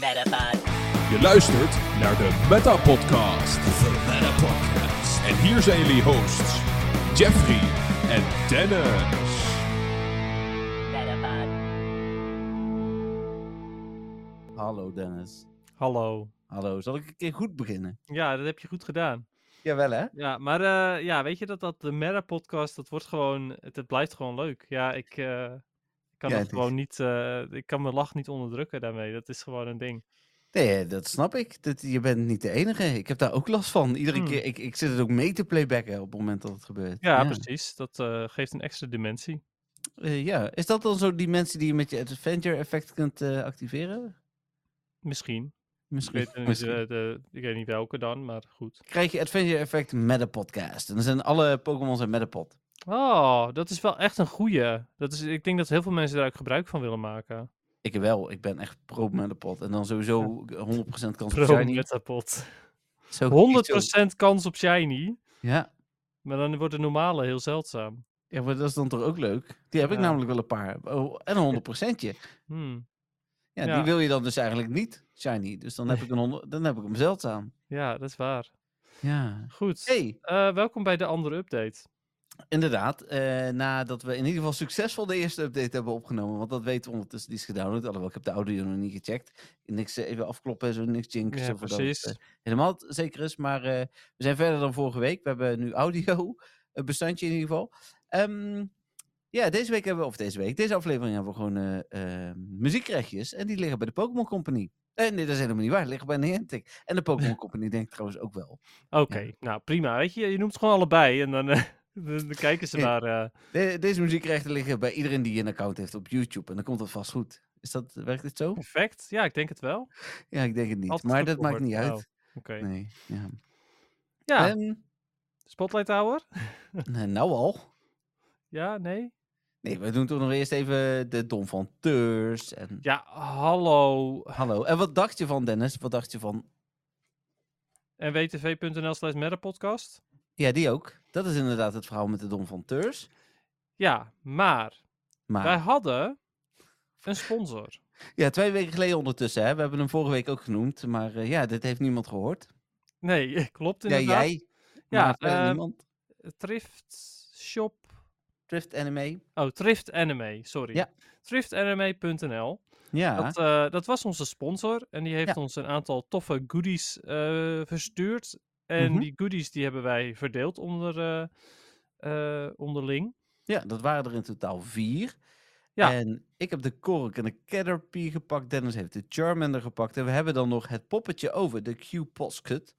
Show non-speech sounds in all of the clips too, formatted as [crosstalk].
Metapod. Je luistert naar de Meta Podcast. En hier zijn jullie hosts Jeffrey en Dennis. Metapod. Hallo Dennis. Hallo. Hallo, zal ik een keer goed beginnen? Ja, dat heb je goed gedaan. Jawel hè? Ja, maar eh, ja, weet je dat dat de Meta podcast dat wordt gewoon, het, het blijft gewoon leuk. Ja, ik eh, ik kan Ja, het het gewoon niet, eh, ik kan mijn lach niet onderdrukken daarmee. Dat is gewoon een ding. Nee, dat snap ik. Dat, je bent niet de enige. Ik heb daar ook last van. Iedere Hmm. keer, ik, ik zit het ook mee te playbacken op het moment dat het gebeurt. Ja, precies. Dat eh, geeft een extra dimensie. Eh, ja. Is dat dan zo die mensen die je met je adventure effect kunt eh, activeren? Misschien. Ik Misschien. weet, niet, misschien. eh, de, ik weet niet welke dan, maar goed. Krijg je adventure effect met een podcast. En dan zijn alle Pokémon zijn met een pod. Oh, dat is wel echt een goeie. Dat is, ik denk dat heel veel mensen daar ook gebruik van willen maken. Ik wel. Ik ben echt pro met pod. En dan sowieso 100% kans op Pro shiny. Metapod. Zo- 100% kans op shiny, Ja. maar dan wordt de normale heel zeldzaam. Ja, maar dat is dan toch ook leuk? Die heb ik Ja. namelijk wel een paar. Oh, [laughs] en een 100%tje. Hmm. Ja, Ja. die wil je dan dus eigenlijk niet, shiny. Dus dan heb ik, een honderd, dan heb ik hem zeldzaam. Ja, dat is waar. Ja. Goed. hey, Eh, welkom bij de andere update. inderdaad. eh, nadat we in ieder geval succesvol de eerste update hebben opgenomen. Want dat weten we ondertussen, die is gedownload. Alhoewel, ik heb de audio nog niet gecheckt. Niks eh, even afkloppen, zo niks jinxen. Ja, voordat het, precies. eh, helemaal t- zeker is. Maar eh, we zijn verder dan vorige week. We hebben nu audio, [laughs] een bestandje in ieder geval. Ehm, ja, deze week hebben we, of deze week, deze aflevering hebben we gewoon eh, eh, muziekrechtjes. En die liggen bij de Pokémon Company. Eh, nee, dat is helemaal niet waar. Die liggen bij Niantic. En de [laughs] Pokémon Company denk ik trouwens ook wel. Oké, nou prima. Weet je, je noemt gewoon allebei en dan, eh, [laughs] dan dan kijken ze Ja. naar. eh, De- deze muziekrechten liggen bij iedereen die een account heeft op YouTube. En dan komt dat vast goed. Is dat, werkt het zo? perfect. Ja, ik denk het wel. Oké. Ja, ik denk het niet. Altijd maar goed dat maakt gehoord. niet Nou, uit. Nee. Ja. Ja, Ehm, [laughs] Spotlight Hour? nou, nou al. Ja, nee. Nee, we doen toch nog eerst even de Don van Teurs. En... Ja, hallo. Hallo. En wat dacht je van, Dennis? Wat dacht je van... nwtv.nl slash Metapodcast. Ja, die ook. Dat is inderdaad het verhaal met de Don van Teurs. Ja, maar Maar wij hadden een sponsor. ja, twee weken geleden ondertussen. Hè. We hebben hem vorige week ook genoemd. Maar eh, ja, dit heeft niemand gehoord. Nee, [laughs] klopt Ja, inderdaad. jij. Ja, maar verder eh, niemand. Thrift Shop Drift E. Anime. Oh, Thrift Anime, sorry. Ja. E Thriftanime.nl. Ja. Dat, eh, dat was onze sponsor en die heeft Ja. ons een aantal toffe goodies eh, verstuurd. En Mhm. die goodies die hebben wij verdeeld onder, eh, eh, onderling. Ja, dat waren er in totaal vier. Ja. En ik heb de Kork en de Caterpie gepakt. Dennis heeft de Charmander gepakt. En we hebben dan nog het poppetje over, de Q-Posket.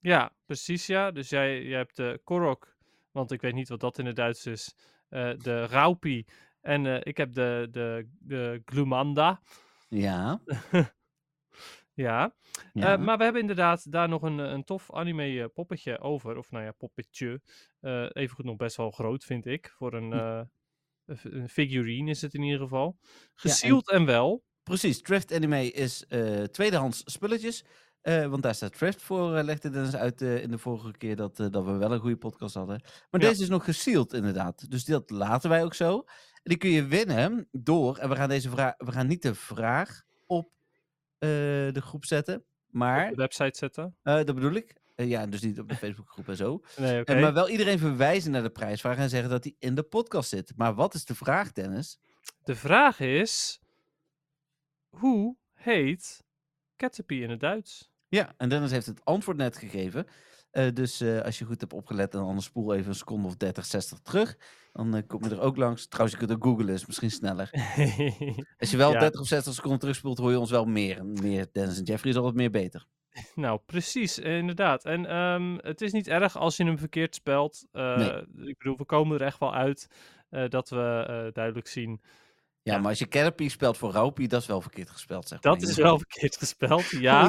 Ja, precies ja. Dus jij, jij hebt de Korok, want ik weet niet wat dat in het Duits is. eh, de Raupi en eh, ik heb de, de, de Glumanda. Ja. Ja. Eh, ja. maar we hebben inderdaad daar nog een, eh, een tof anime eh, poppetje over. Of nou ja, poppetje. Eh evengoed nog best wel groot, vind ik. Voor een, eh, een f- een figurine is het in ieder geval. Gezield en wel. Precies, Drift Anime is eh, tweedehands spulletjes. Eh, want daar staat Drift voor, eh, legde Dennis uit eh, in de vorige keer dat, eh, dat we wel een goede podcast hadden. Maar Ja. deze is nog gesealed inderdaad. Dus dat laten wij ook zo. En die kun je winnen door, en we gaan, deze vraag, we gaan niet de vraag op eh, de groep zetten. Maar, De website zetten. eh, dat bedoel ik, Eh, ja, dus niet op [laughs] de Facebookgroep en zo. Nee, oké. Eh, maar wel iedereen verwijzen naar de prijsvraag en zeggen dat die in de podcast zit. Maar wat is de vraag, Dennis? De vraag is... Hoe heet Caterpie in het [laughs] Duits? Ja, en Dennis heeft het antwoord net gegeven. Eh, dus eh, als je goed hebt opgelet en anders spoel even een seconde of 30, 60 terug. Dan eh, kom je er ook langs. Trouwens, je kunt ook googlen, is misschien [laughs] sneller. Als je wel Ja. 30 of 60 seconden terugspoelt, hoor je ons wel meer. meer Dennis en Jeffrey is altijd meer beter. Nou, precies, eh, inderdaad. En ehm, het is niet erg als je hem verkeerd spelt. Eh, Ik bedoel, we komen er echt wel uit eh, dat we eh, duidelijk zien. Ja, Ja. maar als je Caterpie spelt voor Raupie, dat is wel verkeerd gespeld, zeg maar. Dat [laughs] is wel verkeerd gespeld, ja.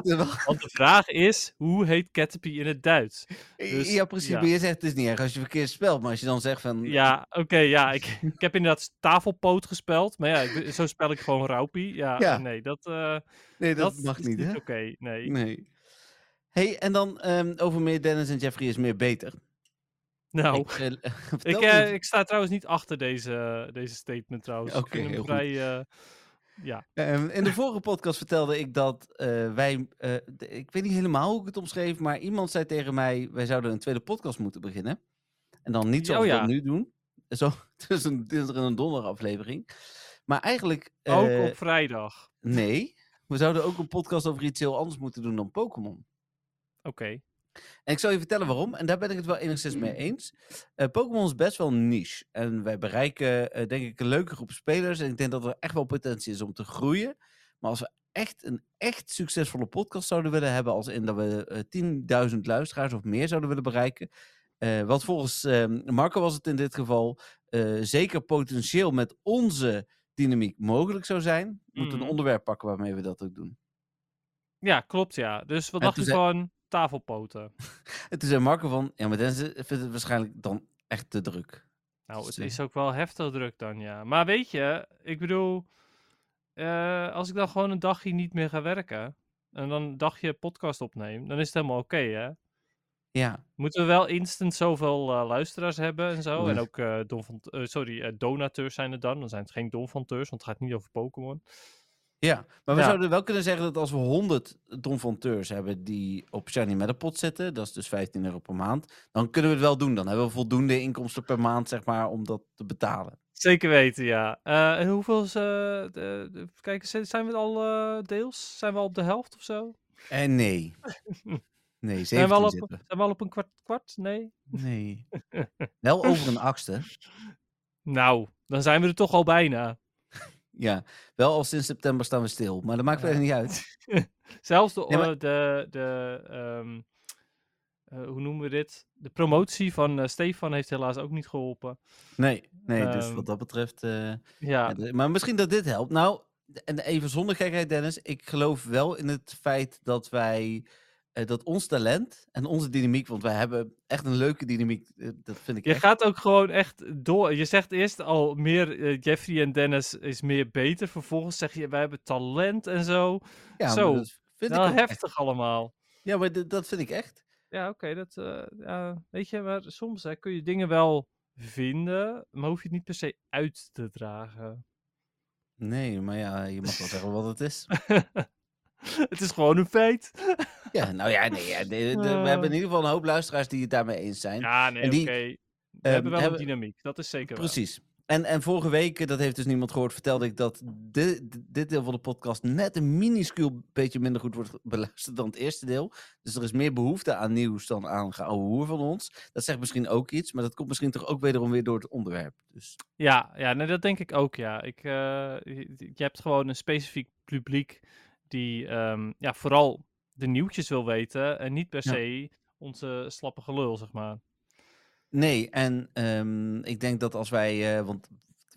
Want de vraag is, hoe heet Caterpie in het Duits? dus- ja, precies. ja. Maar je zegt het is niet erg als je verkeerd spelt. Maar als je dan zegt van... Ja, oké, ja. Ik, ik heb inderdaad tafelpoot gespeld. Maar ja, ik ben- zo spel ik gewoon Raupie. Ja, Ja. nee, dat, eh, Nee, dat, dat mag is niet, hè? oké, nee. Nee. hey, en dan ehm, over meer Dennis en Jeffrey is meer beter. Nou, Ik, ik, eh, [laughs] vertel ik, me- eh, ik sta trouwens niet achter deze, deze statement trouwens. Oké, ik vind heel hem goed. vrij... eh, Ja. Ehm, [laughs] in de vorige podcast vertelde ik dat eh, wij, eh, de- ik weet niet helemaal hoe ik het omschreef, maar iemand zei tegen mij, wij zouden een tweede podcast moeten beginnen. En dan niet zoals Oh we ja. dat nu doen. [laughs] Zo tussen een dinsdag en een donderdag aflevering. Maar eigenlijk, eh, Ook op vrijdag. nee, we zouden ook een podcast over iets heel anders moeten doen dan Pokémon. Oké. En ik zal je vertellen waarom. En daar ben ik het wel enigszins mee eens. Eh, Pokémon is best wel niche. En wij bereiken, eh, denk ik, een leuke groep spelers. En ik denk dat er echt wel potentie is om te groeien. Maar als we echt een echt succesvolle podcast zouden willen hebben, als in dat we eh, 10.000 luisteraars of meer zouden willen bereiken. eh, wat volgens eh, Marco was het in dit geval eh, zeker potentieel met onze dynamiek mogelijk zou zijn. Moeten We een Mhm. onderwerp pakken waarmee we dat ook doen. Ja, klopt ja. Dus wat En dacht je toen zei- van tafelpoten? En toen zei Marco van, ja maar Dennis vindt het waarschijnlijk dan echt te druk. Nou, het Dus, eh, is ook wel heftig druk dan, ja. Maar weet je, ik bedoel, eh, als ik dan gewoon een dagje niet meer ga werken en dan een dagje podcast opneem, dan is het helemaal oké, hè? Ja, Moeten we wel instant zoveel eh, luisteraars hebben en zo? En Ja. ook eh, don van, eh, sorry, eh, donateurs zijn het dan. Dan zijn het geen donfanteurs, want het gaat niet over Pokémon. ja. maar we Ja. zouden wel kunnen zeggen dat als we 100 donfanteurs hebben die op Shiny Metapod zitten, dat is dus 15 euro per maand, dan kunnen we het wel doen. Dan hebben we voldoende inkomsten per maand, zeg maar, om dat te betalen. Zeker weten, ja. Eh, en hoeveel is, eh, de- de- kijk, zi- zijn we al eh, deels? Zijn we al op de helft of zo? Eh, En nee. [laughs] Nee, Zijn we al 17 op, zitten. zijn we al op een kwart? kwart? Nee? we. [laughs] Nee. Wel over een achtste. Nou, dan zijn we er toch al bijna. Ja, wel al sinds september staan we stil, maar dat maakt Ja. verder niet uit. Zelfs de, Nee, maar- eh, de, de ehm, eh, hoe noemen we dit? De promotie van eh, Stefan heeft helaas ook niet geholpen. Nee, nee dus Ehm. wat dat betreft... eh, Ja, Ja, d- maar misschien dat dit helpt. Nou, en even zonder gekheid, Dennis. Ik geloof wel in het feit dat wij. eh, dat ons talent en onze dynamiek. Want wij hebben echt een leuke dynamiek. eh, dat vind ik. je echt. gaat ook gewoon echt door. Je zegt eerst al meer eh, Jeffrey en Dennis is meer beter. Vervolgens zeg je wij hebben talent en zo. ja, maar zo, Nou, dat vind ik Wel ook echt. heftig allemaal. Ja, maar d- dat vind ik echt. Ja, oké. dat, eh, ja, weet je, maar soms hè, kun je dingen wel vinden, maar hoef je het niet per se uit te dragen. [laughs] Nee, maar ja, je mag wel zeggen wat het [laughs] is. het is gewoon een feit. Ja, nou ja, nee, ja, de- de- we Eh. hebben in ieder geval een hoop luisteraars die het daarmee eens zijn. Ja, nee, En oké. die, We ehm, hebben wel hebben- een dynamiek, dat is zeker waar. Precies. En, en vorige week, eh, dat heeft dus niemand gehoord, vertelde ik dat de, d- dit deel van de podcast net een minuscuul beetje minder goed wordt ge- beluisterd dan het eerste deel. Dus er is meer behoefte aan nieuws dan aan geouwehoer van ons. Dat zegt misschien ook iets, maar dat komt misschien toch ook wederom weer door het onderwerp. Dus Ja, ja nee, dat denk ik ook, ja. Ik, eh, je, je hebt gewoon een specifiek publiek die ehm, ja, vooral de nieuwtjes wil weten en niet per Ja. se onze slappe gelul, zeg maar. nee, en ehm, ik denk dat als wij, eh, want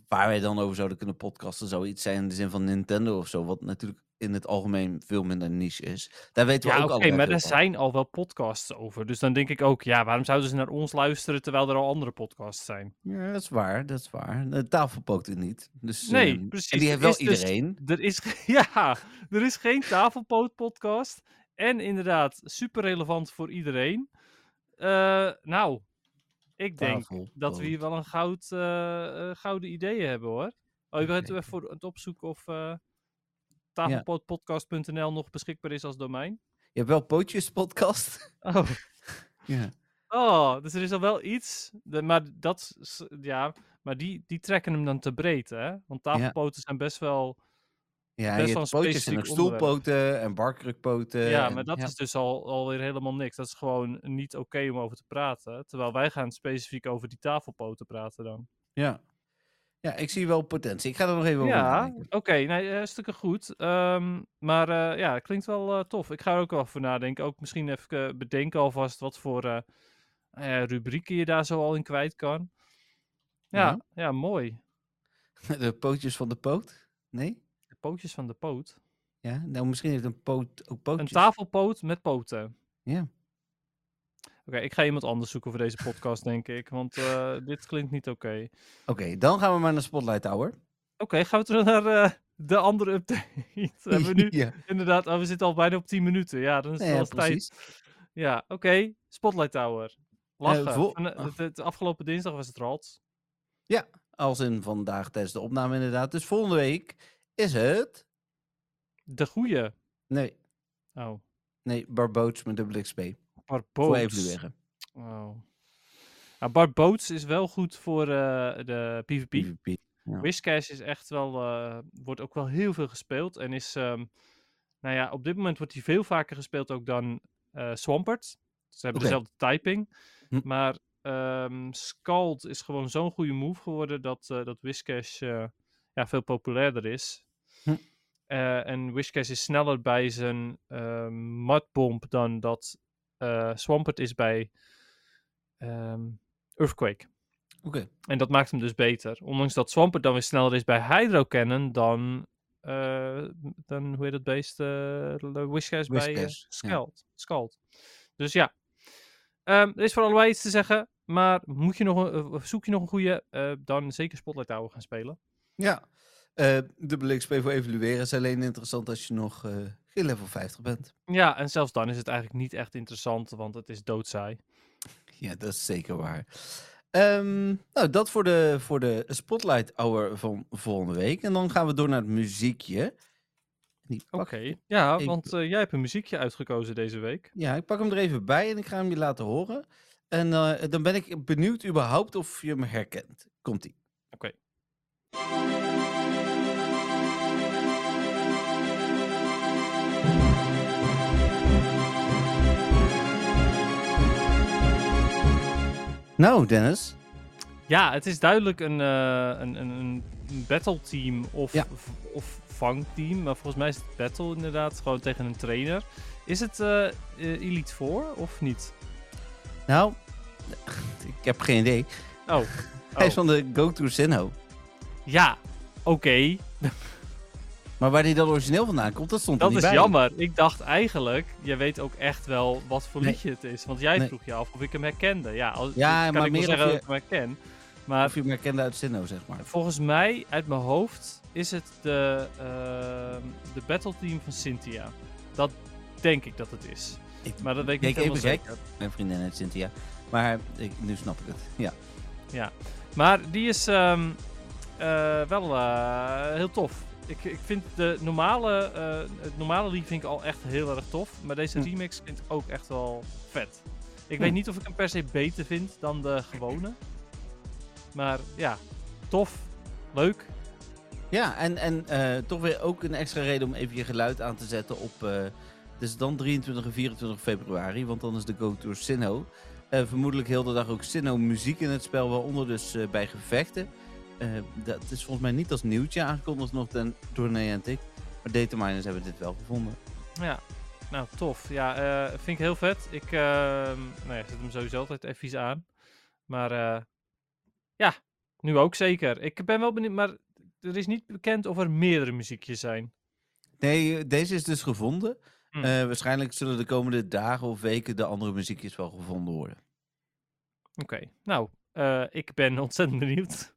waar wij dan over zouden kunnen podcasten, zou iets zijn in de zin van Nintendo of zo, wat natuurlijk in het algemeen veel minder niche is. Daar weten we Ja, ook oké, allebei maar veel er van. zijn al wel podcasts over. Dus dan denk ik ook, ja, waarom zouden ze naar ons luisteren terwijl er al andere podcasts zijn? Ja, dat is waar, dat is waar. De tafel pookt het niet. Dus, Nee, ehm, en precies, die er heeft wel is dus- iedereen. Er is, [laughs] ge- ja, er is geen tafelpoot-podcast. En inderdaad, super relevant voor iedereen. Eh, nou, ik denk dat we hier Tafelpoot. wel een goud, eh, eh, gouden idee hebben hoor. Oh, Dat je bent zeker. even voor aan het opzoeken of eh tafelpootpodcast.nl nog beschikbaar is als domein. Je hebt wel pootjespodcast. Oh. [laughs] ja. oh, dus er is al wel iets. de- maar dat, is- ja, maar die, die trekken hem dan te breed hè. Want tafelpoten zijn best wel... Ja, Best je wel hebt een pootjes en specifiek ook stoelpoten en barkrukpoten. Ja, en- maar dat Eh, ja. is dus al, alweer helemaal niks. Dat is gewoon niet oké om over te praten. Terwijl wij gaan specifiek over die tafelpoten praten dan. Ja. ja, ik zie wel potentie. Ik ga er nog even over ja, nadenken. [laughs] oké. nee, hartstikke goed. Ehm, maar eh, ja, het klinkt wel eh, tof. Ik ga er ook wel voor nadenken. Ook misschien even eh, bedenken alvast wat voor eh, eh, rubrieken je daar zo al in kwijt kan. Ja, ja. Ja. mooi. De pootjes van de poot? Nee? De pootjes van de poot. Ja, nou misschien heeft een poot ook pootjes. Een tafelpoot met poten. Ja. Oké, ik ga iemand anders zoeken voor deze podcast, denk ik. Want eh, dit klinkt niet oké. Oké, dan gaan we maar naar Spotlight Hour. Oké, gaan we terug naar eh, de andere update. [laughs] we [laughs] hebben nu ja, inderdaad, oh, we zitten al bijna op 10 minuten. Ja, dan is het nee, wel ja, eens tijd. precies. Ja, oké. Spotlight Tower. Lachen. voor- Van, eh, ah. het- het afgelopen dinsdag was het Ralt. Als in vandaag tijdens de opname inderdaad. Dus volgende week Is het? De goede. Nee, Oh, nee, Barboots met dubbel XP. Voor Barboots. evalueren. Oh. Nou, Barboots is wel goed voor eh, de PvP. PvP. Ja. Whiskash is echt wel, eh, wordt ook wel heel veel gespeeld. En is, ehm, nou ja, op dit moment wordt hij veel vaker gespeeld ook dan eh Swampert. Ze hebben Oké. dezelfde typing. Hm. Maar ehm, Scald is gewoon zo'n goede move geworden dat, eh dat Whiskash eh, ja, veel populairder is. Hm. Eh, en Whiskash is sneller bij zijn ehm mudbomb dan dat eh Swampert is bij ehm, Earthquake. Oké. En dat maakt hem dus beter. Ondanks dat Swampert dan weer sneller is bij Hydro Cannon dan, eh, dan hoe heet dat beest? eh Whiskers bij eh, Whiskers, ja. Skald. Skald. Dus ja, Ehm, er is voor allebei iets te zeggen. Maar moet je nog een, eh, of zoek je nog een goede, eh, dan zeker Spotlight Tower gaan spelen. Ja. Eh dubbel XP voor evalueren is alleen interessant als je nog eh, geen level 50 bent. Ja, en zelfs dan is het eigenlijk niet echt interessant, want het is doodzaai. Ja, dat is zeker waar. Ehm, nou, dat voor de, voor de Spotlight Hour van volgende week. En dan gaan we door naar het muziekje. Die pak Oké, ik ja, Ik- want eh, jij hebt een muziekje uitgekozen deze week. Ja, ik pak hem er even bij en ik ga hem je laten horen. En eh, dan ben ik benieuwd überhaupt of je hem herkent. Komt-ie. Oké. Nou, Dennis. Ja, het is duidelijk een, eh een, een, een battle team of, Ja. v- of vangteam. Maar volgens mij is het battle inderdaad gewoon tegen een trainer. Is het eh, eh, Elite 4 of niet? Nou, [laughs] ik heb geen idee. Oh, Hij is oh. van de Go To Sinnoh. ja, oké. Maar waar hij dan origineel vandaan komt, dat stond er Dat niet is bij. jammer. Ik dacht eigenlijk, jij weet ook echt wel wat voor Nee. liedje het is. Want jij Nee. vroeg je af of ik hem herkende. Ja, als, Ja, kan maar ik meer wel of zeggen dat je- ik hem herken. Maar Of je hem herkende uit Sinnoh, zeg maar. volgens mij, uit mijn hoofd, is het de, ehm de battle team van Cynthia. Dat denk ik dat het is. Ik Maar dat weet ik keek niet even helemaal gek. zeker. Mijn vriendin heet Cynthia. Maar ik, nu snap ik het. Ja. Maar die is ehm, eh, wel eh, heel tof. Ik, ik vind de normale, eh het normale lied vind ik al echt heel erg tof. Maar deze Hm. remix vind ik ook echt wel vet. Ik Hm. weet niet of ik hem per se beter vind dan de gewone. Maar ja, tof, leuk. Ja, en, en eh, toch weer ook een extra reden om even je geluid aan te zetten op... eh dus dan 23 en 24 februari, want dan is de Go Tour Sinnoh. Eh, vermoedelijk heel de dag ook Sinnoh muziek in het spel, waaronder dus eh, bij gevechten. Eh, dat is volgens mij niet als nieuwtje aangekondigd nog ten, door Niantic. Maar dataminers hebben dit wel gevonden. Ja, nou tof. Ja, eh, vind ik heel vet. Ik ehm, nou ja, zet hem sowieso altijd even aan. Maar eh, ja, nu ook zeker. Ik ben wel benieuwd, maar er is niet bekend of er meerdere muziekjes zijn. Nee, deze is dus gevonden. Hm. Eh, waarschijnlijk zullen de komende dagen of weken de andere muziekjes wel gevonden worden. Oké, nou, eh, ik ben [laughs] ontzettend benieuwd.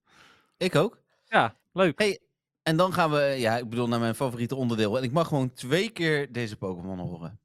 Ik ook. Ja, leuk. Hey. En dan gaan we, eh, ja, ik bedoel, naar mijn favoriete onderdeel. En ik mag gewoon twee keer deze Pokémon horen.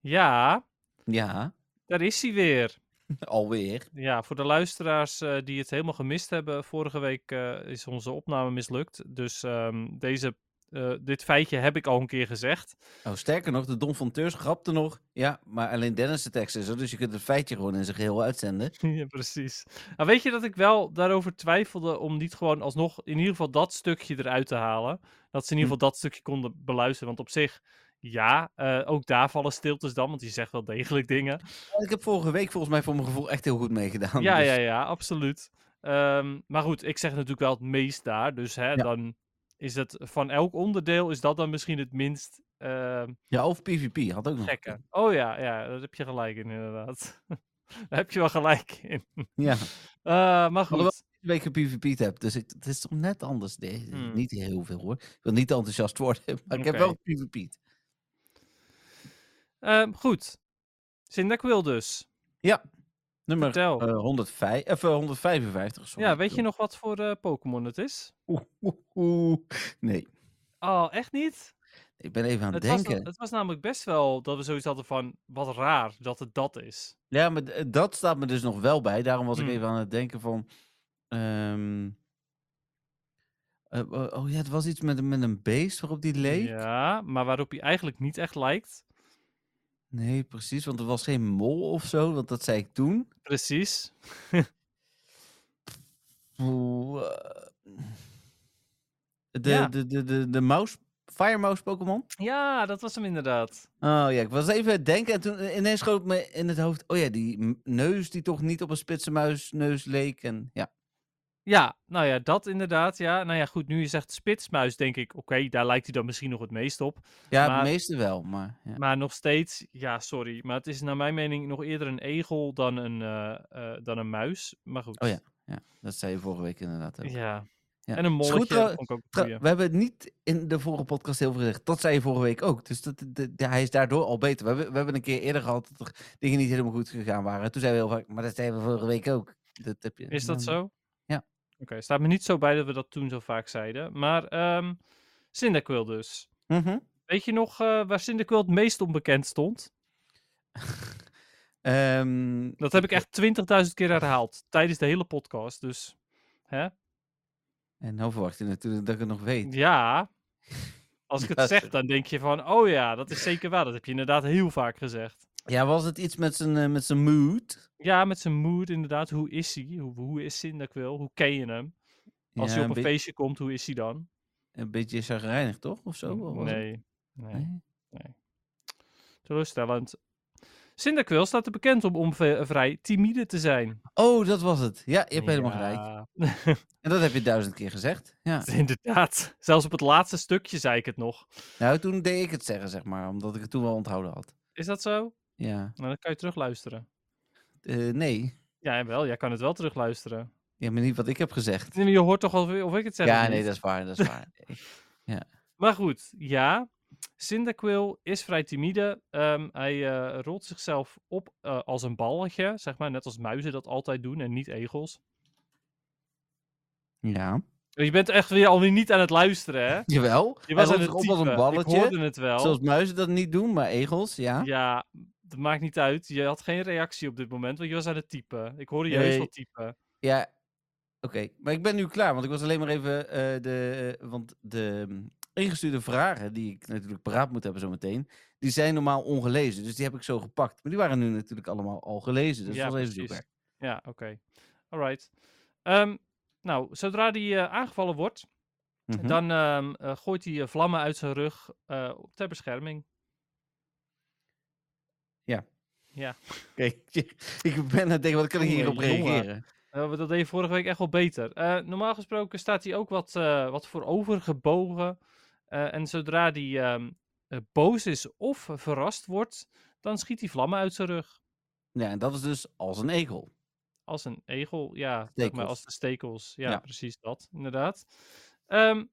Ja, Ja, daar is hij weer. [laughs] alweer. Ja, voor de luisteraars eh, die het helemaal gemist hebben, vorige week eh, is onze opname mislukt. Dus ehm, deze, eh, dit feitje heb ik al een keer gezegd. Oh, sterker nog, de Don van Teurs grapte nog. Ja, maar alleen Dennis de tekst is er, dus je kunt het feitje gewoon in zijn geheel uitzenden. [laughs] Ja, precies. Nou, weet je dat ik wel daarover twijfelde om niet gewoon alsnog in ieder geval dat stukje eruit te halen? Dat ze in Hm. ieder geval dat stukje konden beluisteren. Want op zich, ja, eh, ook daar vallen stiltes dan, want die zegt wel degelijk [laughs] dingen. Ik heb vorige week volgens mij voor mijn gevoel echt heel goed meegedaan. Ja, dus- ja, ja, absoluut. Ehm, maar goed, ik zeg natuurlijk wel het meest daar. Dus hè, dan is het van elk onderdeel is dat dan misschien het minst ehm Ja, of PvP had ook nog. gekke. Oh ja, ja, daar heb je gelijk in inderdaad. [laughs] daar heb je wel gelijk in. Ja, Eh, maar Alhoewel- goed. deze week gePvP'd heb, dus ik, het is toch net anders. Nee, Hmm. Niet heel veel hoor. Ik wil niet te enthousiast worden, [laughs] maar ik heb Oké. wel PvP'd. Ehm, goed. Cyndaquil dus. Nummer Vertel. eh, 105, of, eh, 155, sorry. ja, weet je nog wat voor eh, Pokémon het is? Oeh, oeh, oeh. Nee, Oh, echt niet? ik ben even aan het Het was, denken. na- het was namelijk best wel dat we zoiets hadden van, wat raar dat het dat is. Ja, maar d- dat staat me dus nog wel bij. Daarom was ik Hmm. even aan het denken van... ehm, Eh, oh oh ja, het was iets met, een- met een beest waarop die leek. Ja, maar waarop hij eigenlijk niet echt lijkt. Nee, precies, want er was geen mol of zo, want dat zei ik toen. Precies. Oeh, eh, De, Ja. de, de, de, de mouse, Fire Mouse Pokémon? Ja, dat was hem inderdaad. Oh ja, ik was even aan het denken en toen eh, ineens schoot me in het hoofd... Oh ja, die m- neus die toch niet op een spitse muisneus leek en ja. Ja, nou ja, dat inderdaad. Ja, nou ja, goed. Nu je zegt spitsmuis, denk ik, oké, daar lijkt hij dan misschien nog het meest op. Ja, Maar- het meeste wel, maar... Ja. Maar nog steeds, ja, sorry. Maar het is naar mijn mening nog eerder een egel dan een, eh, eh, dan een muis. Maar goed. Oh Ja, dat zei je vorige week inderdaad ook. Ja. Ja. En een Is goed molletje, trouw- dat vond ik ook een Tra- goeie. We hebben het niet in de vorige podcast heel veel gezegd. Dat zei je vorige week ook. Dus dat, de- de- hij is daardoor al beter. We hebben, we hebben een keer eerder gehad dat er dingen niet helemaal goed gegaan waren. Toen zeiden we heel vaak, maar dat zeiden we vorige week ook. Dat heb je, nou Is dat dan- zo? ja. Oké, staat me niet zo bij dat we dat toen zo vaak zeiden. Maar ehm Cyndaquil dus. Mhm. Weet je nog eh, waar Cyndaquil het meest onbekend stond? Ehm, Dat heb ik echt 20.000 keer herhaald tijdens de hele podcast. Dus hè? En nou verwacht je natuurlijk dat ik het nog weet. ja, als ik het Ja, zeg, zeg. dan denk je van, oh ja, dat is zeker waar. Dat heb je inderdaad heel vaak gezegd. Ja, was het iets met zijn, eh, met zijn mood? Ja, met zijn mood inderdaad. Hoe is hij? Hoe, hoe is Cyndaquil? Hoe ken je hem? Als Ja, hij op een een, beetje feestje komt, hoe is hij dan? een beetje chagrijnig, toch? Of zo? Of Oh, was het- nee, nee. nee? Teleurstellend. Cyndaquil staat er bekend om onve- eh, vrij timide te zijn. Oh, dat was het. Ja, je hebt helemaal gelijk. gelijk. En dat heb je duizend keer gezegd. [laughs] Ja. Inderdaad. Zelfs op het laatste stukje zei ik het nog. Nou, toen deed ik het zeggen, zeg maar. Omdat ik het toen wel onthouden had. Is dat zo? Ja. Nou, dan kan je terugluisteren. Eh, nee. Ja, wel. Jij kan het wel terugluisteren. Ja, maar niet wat ik heb gezegd. Nee, maar Je hoort toch al of ik het zeg of ja, nee, niet? dat is waar, dat is waar. [laughs] Maar goed, ja. Cyndaquil is vrij timide. Ehm, hij eh, rolt zichzelf op eh, als een balletje, zeg maar. Net als muizen dat altijd doen en niet egels. Dus ja. Je bent echt weer alweer niet aan het luisteren, hè? Jawel. Je was hij aan rolt het zich op als typen. een Ik balletje. hoorde het wel. Zoals muizen dat niet doen, maar egels, ja. Ja, dat maakt niet uit. Je had geen reactie op dit moment, want je was aan het typen. Ik hoorde je heus wel Nee. typen. Ja. Oké, maar ik ben nu klaar, want ik was alleen maar even eh, de... Want de mm, ingestuurde vragen, die ik natuurlijk paraat moet hebben zometeen, die zijn normaal ongelezen. Dus die heb ik zo gepakt. Maar die waren nu natuurlijk allemaal al gelezen. Dus Ja, dat was even precies. zoeken. Ja, oké. Alright. Ehm, nou, zodra die eh, aangevallen wordt, Mhm. [laughs] dan ehm, eh, gooit hij eh, vlammen uit zijn rug eh, ter bescherming. Ja. Ja. Oké, ik ben aan het denken, wat kan ik hierop Jongen, jongen. reageren? Eh, want dat deed je vorige week echt wel beter. Eh, normaal gesproken staat hij ook wat, eh wat voorovergebogen. Eh, en zodra hij ehm, eh, boos is of verrast wordt, dan schiet hij vlammen uit zijn rug. Ja, en dat is dus als een egel. Als een egel, ja. Zeg maar, Stekels. als de stekels. Ja, Ja. precies dat, inderdaad. Ehm,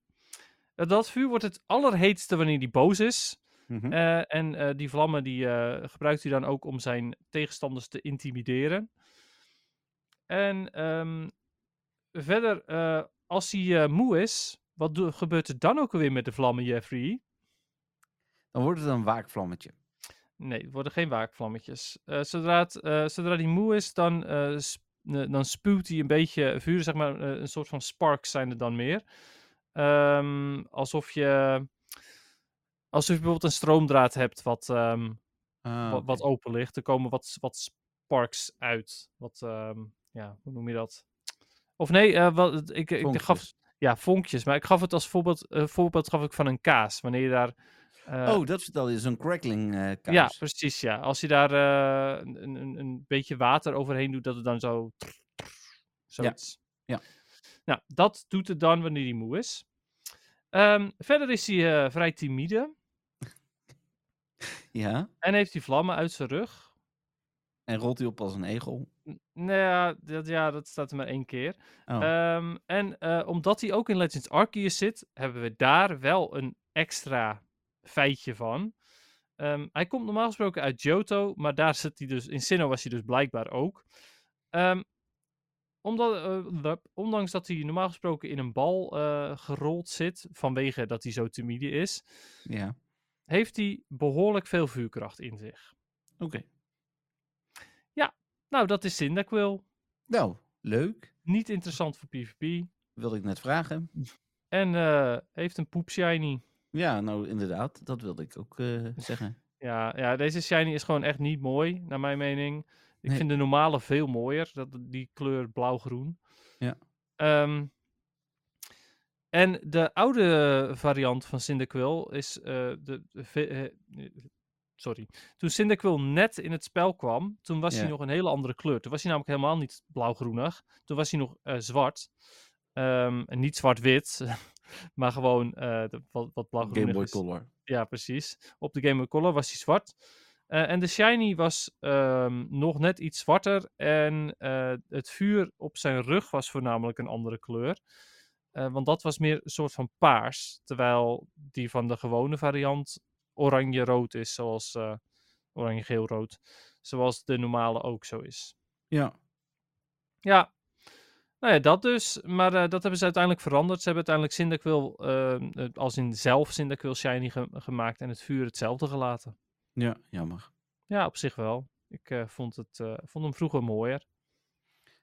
eh, dat vuur wordt het allerheetste wanneer hij boos is. Mhm. Eh, en eh, die vlammen die, eh, gebruikt hij dan ook om zijn tegenstanders te intimideren. En ehm, verder, eh, als hij eh, moe is, wat doe- gebeurt er dan ook weer met de vlammen, Jeffrey? Dan wordt het een waakvlammetje. Nee, het worden geen waakvlammetjes. Eh, zodra, het, eh, zodra hij moe is, dan, eh, sp- eh, dan spuwt hij een beetje vuur, zeg maar, eh, een soort van sparks zijn er dan meer. Ehm, alsof je, alsof je bijvoorbeeld een stroomdraad hebt wat, ehm, Ah, wat, oké. wat open ligt. Er komen wat, wat sparks uit. Wat, ehm, ja, hoe noem je dat? Of nee, eh, wat, ik, ik gaf... Vonkjes. Ja, vonkjes. Maar ik gaf het als voorbeeld, eh, voorbeeld gaf ik van een kaas. Wanneer je daar... eh, oh, dat vertelde je, zo'n crackling eh kaas. ja, precies. Ja. Als je daar eh, een, een- een, een beetje water overheen doet, dat het dan zo. Zoiets. ja. Nou, dat doet het dan wanneer hij moe is. Ehm, verder is hij eh, vrij timide Ja, en heeft hij vlammen uit zijn rug. en rolt hij op als een egel. N- Nou ja, dat, ja, dat staat er maar één keer. Oh, Ehm, en eh, omdat hij ook in Legends Arceus zit, hebben we daar wel een extra feitje van. Ehm, hij komt normaal gesproken uit Johto, maar daar zit hij dus, in Sinnoh was hij dus blijkbaar ook. Ehm, omdat, eh, wap- ondanks dat hij normaal gesproken in een bal eh, gerold zit, vanwege dat hij zo timide is, ja, heeft hij behoorlijk veel vuurkracht in zich. oké. Nou, dat is Cyndaquil. Nou, leuk. Niet interessant voor PvP. Wilde ik net vragen. En eh, heeft een poep shiny. Ja, nou inderdaad, dat wilde ik ook eh, [laughs] zeggen. Ja, ja, deze shiny is gewoon echt niet mooi, naar mijn mening. Ik Nee. vind de normale veel mooier, dat, die kleur blauw-groen. Ja. Ehm, en de oude variant van Cyndaquil is... eh, de, de ve- eh, eh, sorry. Toen Cyndaquil net in het spel kwam, toen was hij Ja. nog een hele andere kleur. Toen was hij namelijk helemaal niet blauw-groenig. Toen was hij nog eh, zwart. Ehm, en niet zwart-wit, [laughs] maar gewoon eh, de- wat, wat blauw-groenig Game Boy is. Color. Ja, precies. Op de Game Boy Color was hij zwart. Eh, en de Shiny was ehm, nog net iets zwarter. En eh, het vuur op zijn rug was voornamelijk een andere kleur. Eh, want dat was meer een soort van paars. Terwijl die van de gewone variant oranje-rood is. Zoals eh, oranje-geel-rood. Zoals de normale ook zo is. Ja. Ja. Nou ja, dat dus. Maar eh, dat hebben ze uiteindelijk veranderd. Ze hebben uiteindelijk Cyndaquil, ehm, eh, als in zelf Cyndaquil Shiny ge- gemaakt en het vuur hetzelfde gelaten. ja, jammer. Ja, op zich wel. Ik eh, vond, het, eh, vond hem vroeger mooier.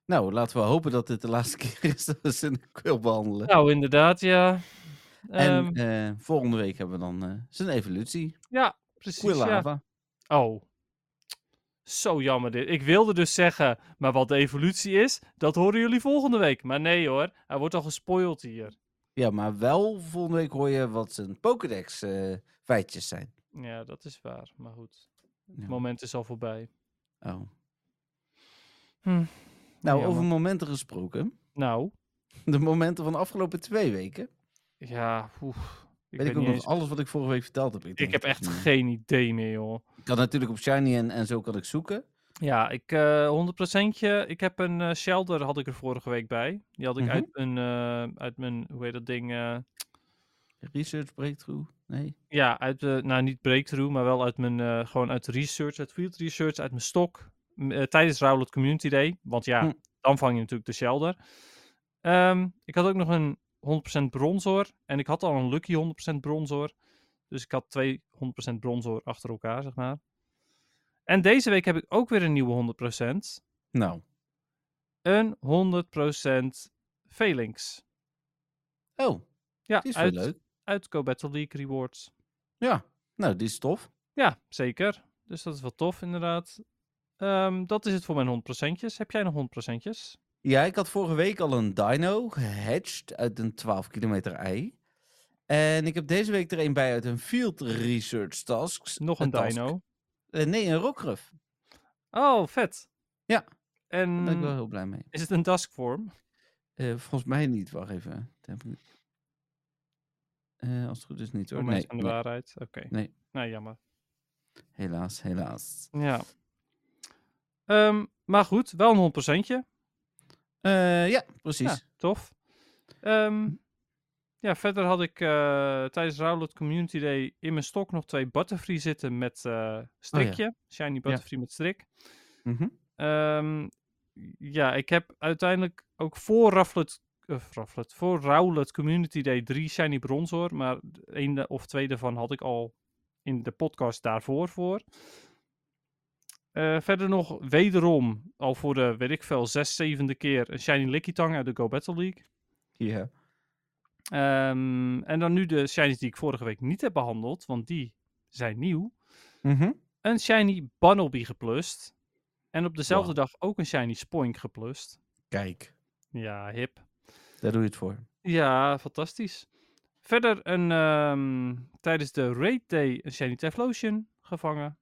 Nou, laten we hopen dat dit de laatste [laughs] keer is dat we Cyndaquil behandelen. Nou, inderdaad, ja. en Ehm, eh, volgende week hebben we dan eh, zijn evolutie. ja, precies. Ja. Quillava. Oh. Zo jammer dit. Ik wilde dus zeggen, maar wat de evolutie is, dat horen jullie volgende week. Maar nee hoor, hij wordt al gespoild hier. Ja, maar wel volgende week hoor je wat zijn Pokédex eh, feitjes zijn. Ja, dat is waar. Maar goed, het Ja. moment is al voorbij. Oh. Hm. Nou, Jammer. over momenten gesproken. [laughs] Nou, De momenten van de afgelopen twee weken. Ja, oef. Ik, weet ik weet ook niet nog eens- alles wat ik vorige week verteld heb. ik denk eh. heb het echt niet meer. geen idee meer, joh. Ik kan natuurlijk op Shiny en, en zo kan ik zoeken. Ja, ik eh 100 Ik heb een eh Shelder had ik er vorige week bij. Die had ik Mhm. uit, mijn, eh, uit mijn, hoe heet dat ding? eh, Research breakthrough. Nee. ja, uit de, nou niet breakthrough, maar wel uit mijn, eh, gewoon uit research, uit field research, uit mijn stok. m- eh, tijdens Rowlet Community Day. Want ja, Hm. dan vang je natuurlijk de Shelder. Ehm, ik had ook nog een 100% bronzor. En ik had al een lucky 100% bronzor. Dus ik had twee 100% bronzor achter elkaar, zeg maar. En deze week heb ik ook weer een nieuwe 100%. Nou. Een 100% Phalanx. Oh, Ja, die is wel uit, leuk. uit Go Battle League Rewards. Ja. Nou, die is tof. Ja, zeker. Dus dat is wel tof, inderdaad. Ehm, dat is het voor mijn 100%'tjes. Heb jij nog 100%'tjes? Ja, ik had vorige week al een dino gehatcht uit een 12 kilometer ei. En ik heb deze week er een bij uit een field research task. Nog een task. dino. Eh, nee, een rockruff. Oh, vet. Ja, Daar ben ik wel En heel blij mee. is het een duskvorm? Eh, volgens mij niet. Wacht even. Dat heb ik niet. Eh, als het goed is niet hoor. Voor Nee, mensen van de nee. waarheid. Oké. Nee. Nou, jammer. Helaas, helaas. Ja. Ehm, maar goed, wel een 100%'tje. Eh, ja, precies. Ja, tof. Ehm, ja, verder had ik eh, tijdens Rowlet Community Day in mijn stok nog twee Butterfree zitten met eh, strikje. Shiny Butterfree met strik. Mhm. Ehm, ja, ik heb uiteindelijk ook voor Rufflet, of Rufflet, voor Rowlet Community Day drie shiny bronzor, maar één of twee daarvan had ik al in de podcast daarvoor voor. Eh, verder nog wederom, al voor de, weet ik veel, zes, zevende keer een shiny Lickitung uit de Go Battle League. Ja. Ehm, en dan nu de shinies die ik vorige week niet heb behandeld, want die zijn nieuw. Mhm. Een shiny Bunnelby geplust. En op dezelfde Wow. dag ook een shiny Spoink geplust. Kijk, Ja, hip. daar doe je het voor. Ja, fantastisch. Verder een, ehm, tijdens de Raid Day een Shiny Teflotion gevangen.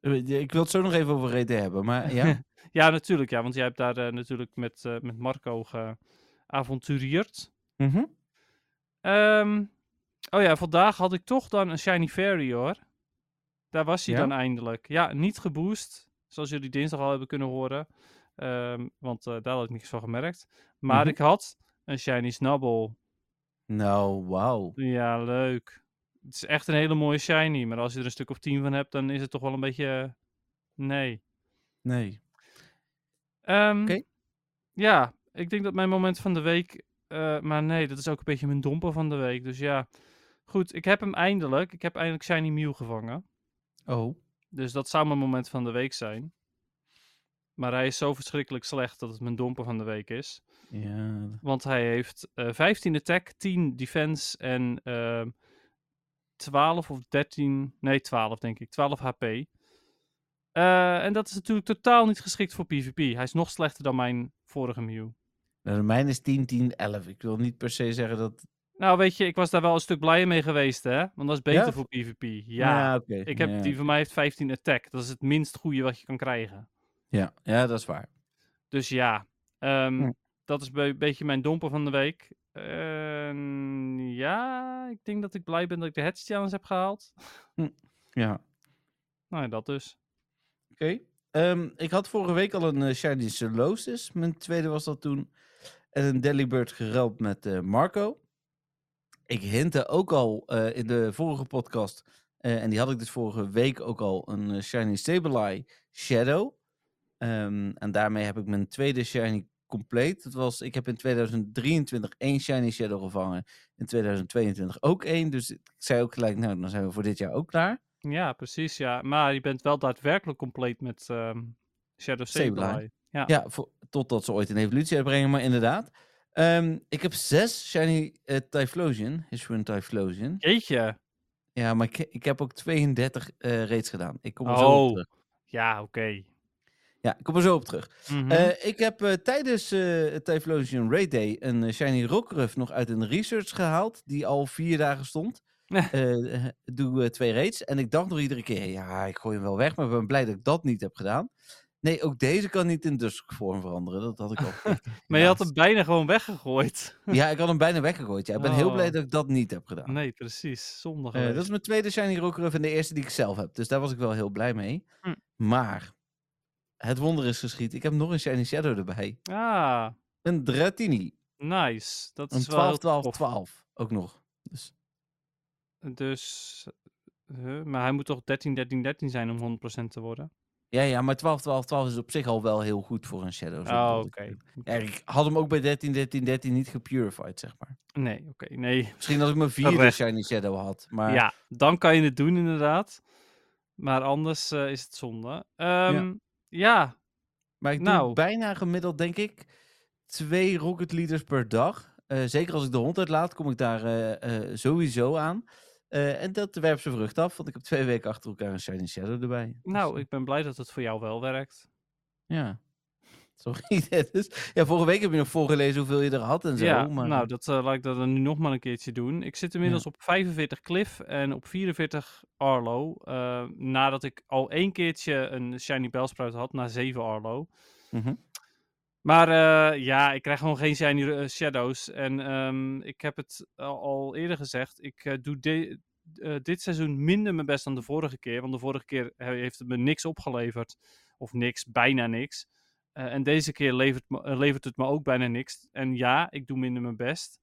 Eh, Ik wil het zo nog even over RD hebben, maar [laughs] ja. Ja, natuurlijk. Ja, want jij hebt daar eh, natuurlijk met, eh, met Marco geavontureerd. Mhm. Ehm, oh ja, vandaag had ik toch dan een Shiny Fairy hoor. Daar was hij Ja? dan eindelijk. Ja, niet geboost. Zoals jullie dinsdag al hebben kunnen horen. Ehm, want eh, daar had ik niks van gemerkt. Maar Mhm. ik had een Shiny Snubble. Nou, wauw. Ja, leuk. Het is echt een hele mooie shiny, maar als je er een stuk of tien van hebt, dan is het toch wel een beetje... eh, Nee. Nee. Ehm, Oké. Ja, ik denk dat mijn moment van de week... eh, maar nee, dat is ook een beetje mijn domper van de week. Dus ja, goed, ik heb hem eindelijk. Ik heb eindelijk Shiny Mew gevangen. Oh. Dus dat zou mijn moment van de week zijn. Maar hij is zo verschrikkelijk slecht dat het mijn domper van de week is. Ja. Want hij heeft eh 15 attack, 10 defense en ehm 12 of 13. Nee, 12 denk ik. 12 HP. Eh, en dat is natuurlijk totaal niet geschikt voor PvP. Hij is nog slechter dan mijn vorige Mew. Nou, de mijne is 10, 10, 11. Ik wil niet per se zeggen dat... Nou, weet je, ik was daar wel een stuk blijer mee geweest, hè? Want dat is beter Ja? voor PvP. Ja. oké. Ik heb, ja. Die van mij heeft 15 attack. Dat is het minst goede wat je kan krijgen. Ja. ja, dat is waar. Dus ja, ehm, Ja. dat is een beetje mijn domper van de week. Ehm, ja, ik denk dat ik blij ben dat ik de Hedge Challenge heb gehaald. [laughs] Ja. Oké. Nou ja, dat dus. Ehm, ik had vorige week al een eh, Shiny Solosis. Mijn tweede was dat toen. En een Delibird geruild met eh, Marco. Ik hintte ook al eh, in de vorige podcast. eh, en die had ik dus vorige week ook al. Een eh, Shiny Sableye Shadow. Ehm, en daarmee heb ik mijn tweede Shiny compleet. Dat was, ik heb in 2023 één Shiny Shadow gevangen. In 2022 ook één. Dus ik zei ook gelijk, nou dan zijn we voor dit jaar ook klaar. Ja, precies, ja. Maar je bent wel daadwerkelijk compleet met ehm, Shadow Sableye. Sableye. Ja, voor- totdat ze ooit een evolutie uitbrengen, maar inderdaad. Ehm, ik heb zes Shiny eh, Typhlosion, Hisuian Typhlosion. Jeetje. Ja, maar ik, ik heb ook 32 eh raids gedaan. Ik kom er zo op Oh, terug. ja, oké. Ja, ik kom er zo op terug. Mhm. Eh, ik heb eh, tijdens eh het Typhlosion Raid Day een eh, Shiny Rockruff nog uit een research gehaald, die al vier dagen stond. Ja. Eh, eh, doe eh, twee raids. En ik dacht nog iedere keer, ja, ik gooi hem wel weg, maar ik ben blij dat ik dat niet heb gedaan. Nee, ook deze kan niet in Dusk vorm veranderen. Dat had ik [laughs] al. gezegd. maar je Helaas. had hem bijna gewoon weggegooid. [laughs] Ja, ik had hem bijna weggegooid. Ja. Ik ben heel blij Oh. Mm, dat ik dat niet heb gedaan. Nee, precies. Zonde Eh, geweest. dat is mijn tweede Shiny Rockruff en de eerste die ik zelf heb. Dus daar was ik wel heel blij mee. Hm. Maar het wonder is geschied. Ik heb nog een Shiny Shadow erbij. Ah, Een Dratini. nice. Dat Een is wel heel 12, 12, tof. 12. Ook nog. Dus, Dus, eh, maar hij moet toch 13, 13, 13 zijn om 100% te worden? ja, ja, maar 12, 12, 12 is op zich al wel heel goed voor een Shadow. zo Oh, bedoel oké. ik. Ja, ik had hem ook bij 13, 13, 13 niet gepurified, zeg maar. Nee, oké. nee. Misschien als ik mijn vierde Terecht. Shiny Shadow had. Maar Ja, dan kan je het doen inderdaad. Maar anders eh, is het zonde. Ehm, ja. Maar ik Nou. doe bijna gemiddeld, denk ik, twee Rocket Leaders per dag. Eh, zeker als ik de hond uitlaat, kom ik daar eh, eh, sowieso aan. Eh, en dat werpt zijn vrucht af, want ik heb twee weken achter elkaar een Shining Shadow erbij. Dus, nou, eh, ik ben blij dat het voor jou wel werkt. Ja. Sorry, [laughs] Dennis. Ja, vorige week heb je nog voorgelezen hoeveel je er had en zo. ja, maar... nou, dat, eh, laat ik dat dan nu nog maar een keertje doen. Ik zit inmiddels op 45 Cliff en op 44 Arlo. eh, nadat ik al één keertje een Shiny Bellsprout had, na 7 Arlo. Mhm. Maar eh, ja, ik krijg gewoon geen shiny eh, shadows. En ehm, ik heb het al, al eerder gezegd. Ik eh, doe de- eh, dit seizoen minder mijn best dan de vorige keer. Want de vorige keer he- heeft het me niks opgeleverd. Of niks, bijna niks. Eh, en deze keer levert, me- eh, levert het me ook bijna niks. En ja, ik doe minder mijn best.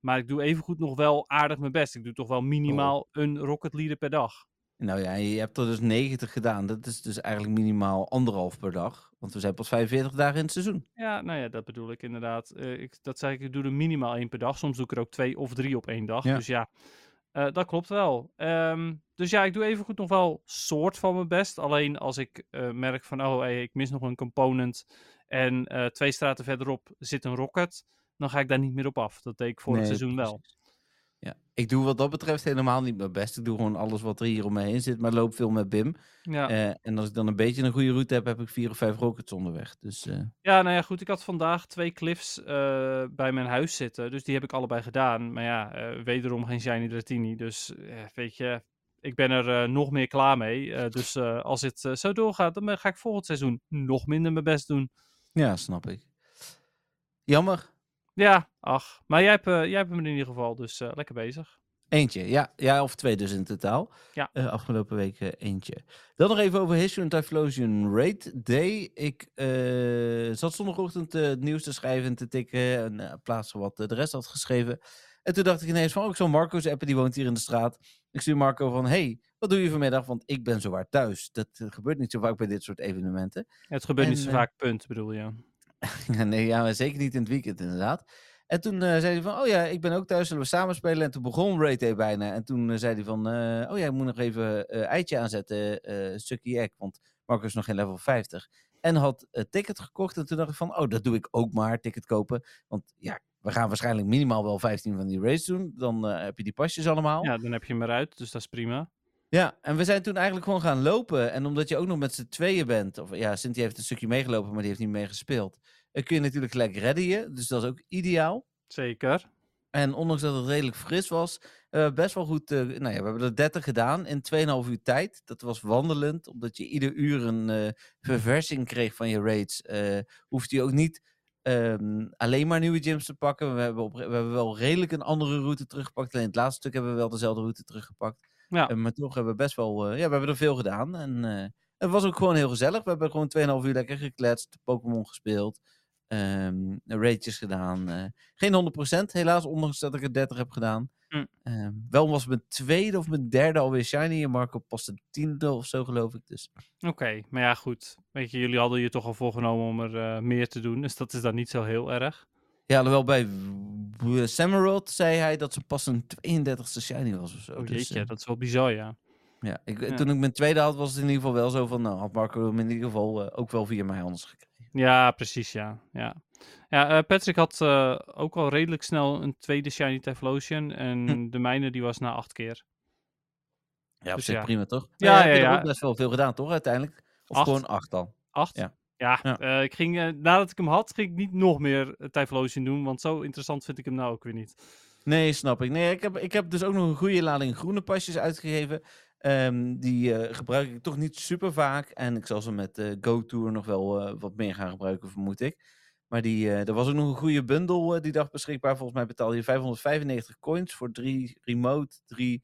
Maar ik doe evengoed nog wel aardig mijn best. Ik doe toch wel minimaal een Rocket Leader per dag. Nou ja, je hebt er dus 90 gedaan. Dat is dus eigenlijk minimaal anderhalf per dag. Want we zijn pas 45 dagen in het seizoen. Ja, nou ja, dat bedoel ik inderdaad. Eh, ik, dat zei ik, ik doe er minimaal één per dag. Soms doe ik er ook twee of drie op één dag. Ja. Dus ja, eh, dat klopt wel. Ehm, dus ja, ik doe evengoed nog wel soort van mijn best. Alleen als ik eh, merk van, oh hey, ik mis nog een component. En eh, twee straten verderop zit een rocket. Dan ga ik daar niet meer op af. Dat deed ik vorig Nee, seizoen wel. Ja. Ik doe wat dat betreft helemaal niet mijn best. Ik doe gewoon alles wat er hier om me heen zit. Maar loop veel met Bim. Ja. Eh, en als ik dan een beetje een goede route heb, heb ik vier of vijf rockets onderweg. Dus eh, Ja, nou ja, goed. Ik had vandaag twee cliffs eh, bij mijn huis zitten. Dus die heb ik allebei gedaan. Maar ja, eh, wederom geen shiny dratini. Dus eh, weet je, ik ben er eh, nog meer klaar mee. Eh, dus eh, als het eh, zo doorgaat, dan ben- ga ik volgend seizoen nog minder mijn best doen. ja, snap ik. Jammer. Ja, ach. Maar jij hebt, eh, jij hebt hem in ieder geval, dus eh, lekker bezig. Eentje, ja. Ja, of twee dus in totaal. Ja. Eh, afgelopen week eh, eentje. Dan nog even over History and Typhlosion Raid Day. Ik eh, zat zondagochtend eh, het nieuws te schrijven en te tikken. En eh, plaatsen wat eh, de rest had geschreven. En toen dacht ik ineens van, oh, ik zal Marco's appen, die woont hier in de straat. Ik stuur Marco van, hey, wat doe je vanmiddag? Want ik ben zowaar thuis. Dat eh, gebeurt niet zo vaak bij dit soort evenementen. Het gebeurt niet En, zo eh, vaak, punt, bedoel je. Ja, [laughs] nee, ja, maar zeker niet in het weekend inderdaad. En toen eh, zei hij van, oh ja, ik ben ook thuis, zullen we samen spelen? En toen begon Ray Day bijna. En toen eh, zei hij van, eh, oh ja, ik moet nog even eh, eitje aanzetten, eh stukje egg, want Marco is nog geen level 50. En had het ticket gekocht. En toen dacht ik van, oh, dat doe ik ook maar, ticket kopen. Want ja, we gaan waarschijnlijk minimaal wel 15 van die races doen. Dan eh, heb je die pasjes allemaal. Ja, dan heb je hem eruit, dus dat is prima. Ja, en we zijn toen eigenlijk gewoon gaan lopen. En omdat je ook nog met z'n tweeën bent, of ja, Sinti heeft een stukje meegelopen, maar die heeft niet meegespeeld. Dan kun je natuurlijk gelijk redden je. Dus dat is ook ideaal. Zeker. En ondanks dat het redelijk fris was, eh, best wel goed. eh, nou ja, we hebben er 30 gedaan in 2,5 uur tijd. Dat was wandelend, omdat je ieder uur een eh, verversing kreeg van je raids. eh hoefde je ook niet ehm, alleen maar nieuwe gyms te pakken. We hebben, op, we hebben wel redelijk een andere route teruggepakt. Alleen het laatste stuk hebben we wel dezelfde route teruggepakt. Ja. Eh, maar toch hebben we best wel, eh, ja, we hebben er veel gedaan. En eh, het was ook gewoon heel gezellig. We hebben gewoon 2,5 uur lekker gekletst, Pokémon gespeeld, ehm raidjes gedaan. eh, geen 100%, helaas, ondanks dat ik er 30 heb gedaan. Mm. Ehm, wel was mijn tweede of mijn derde alweer shiny. En Marco pas de tiende of zo, geloof ik. Dus Oké, maar ja, goed. Weet je, jullie hadden je toch al voorgenomen om er eh, meer te doen, dus dat is dan niet zo heel erg. ja, alhoewel bij w- w- Samurott zei hij dat ze pas een 32e shiny was of zo. Oh, dus, jeetje, eh, dat is wel bizar, ja. ja, ik, ja. Toen ik mijn tweede had, was het in ieder geval wel zo van, nou, had Marco hem in ieder geval eh, ook wel via mij anders gekregen. Ja, precies, ja. Ja, ja eh, Patrick had eh, ook al redelijk snel een tweede Shiny Teflotion en Hm. de mijne die was na acht keer. Ja, op Dus zich ja. prima, toch? Ja, Ja, ja, ja. ja, Heb je er ja. ook best wel veel gedaan, toch, uiteindelijk? Of Acht. gewoon acht al? Acht? Ja. Ja. Ja. eh, ik ging, eh, nadat ik hem had, ging ik niet nog meer uh, Typhlosion doen, want zo interessant vind ik hem nou ook weer niet. Nee, snap ik. Nee, ik heb, ik heb dus ook nog een goede lading groene pasjes uitgegeven. Ehm, die eh, gebruik ik toch niet super vaak. En ik zal ze met eh Go Tour nog wel eh, wat meer gaan gebruiken, vermoed ik. Maar die, eh, er was ook nog een goede bundel eh, die dag beschikbaar. Volgens mij betaalde je 595 coins voor drie remote, drie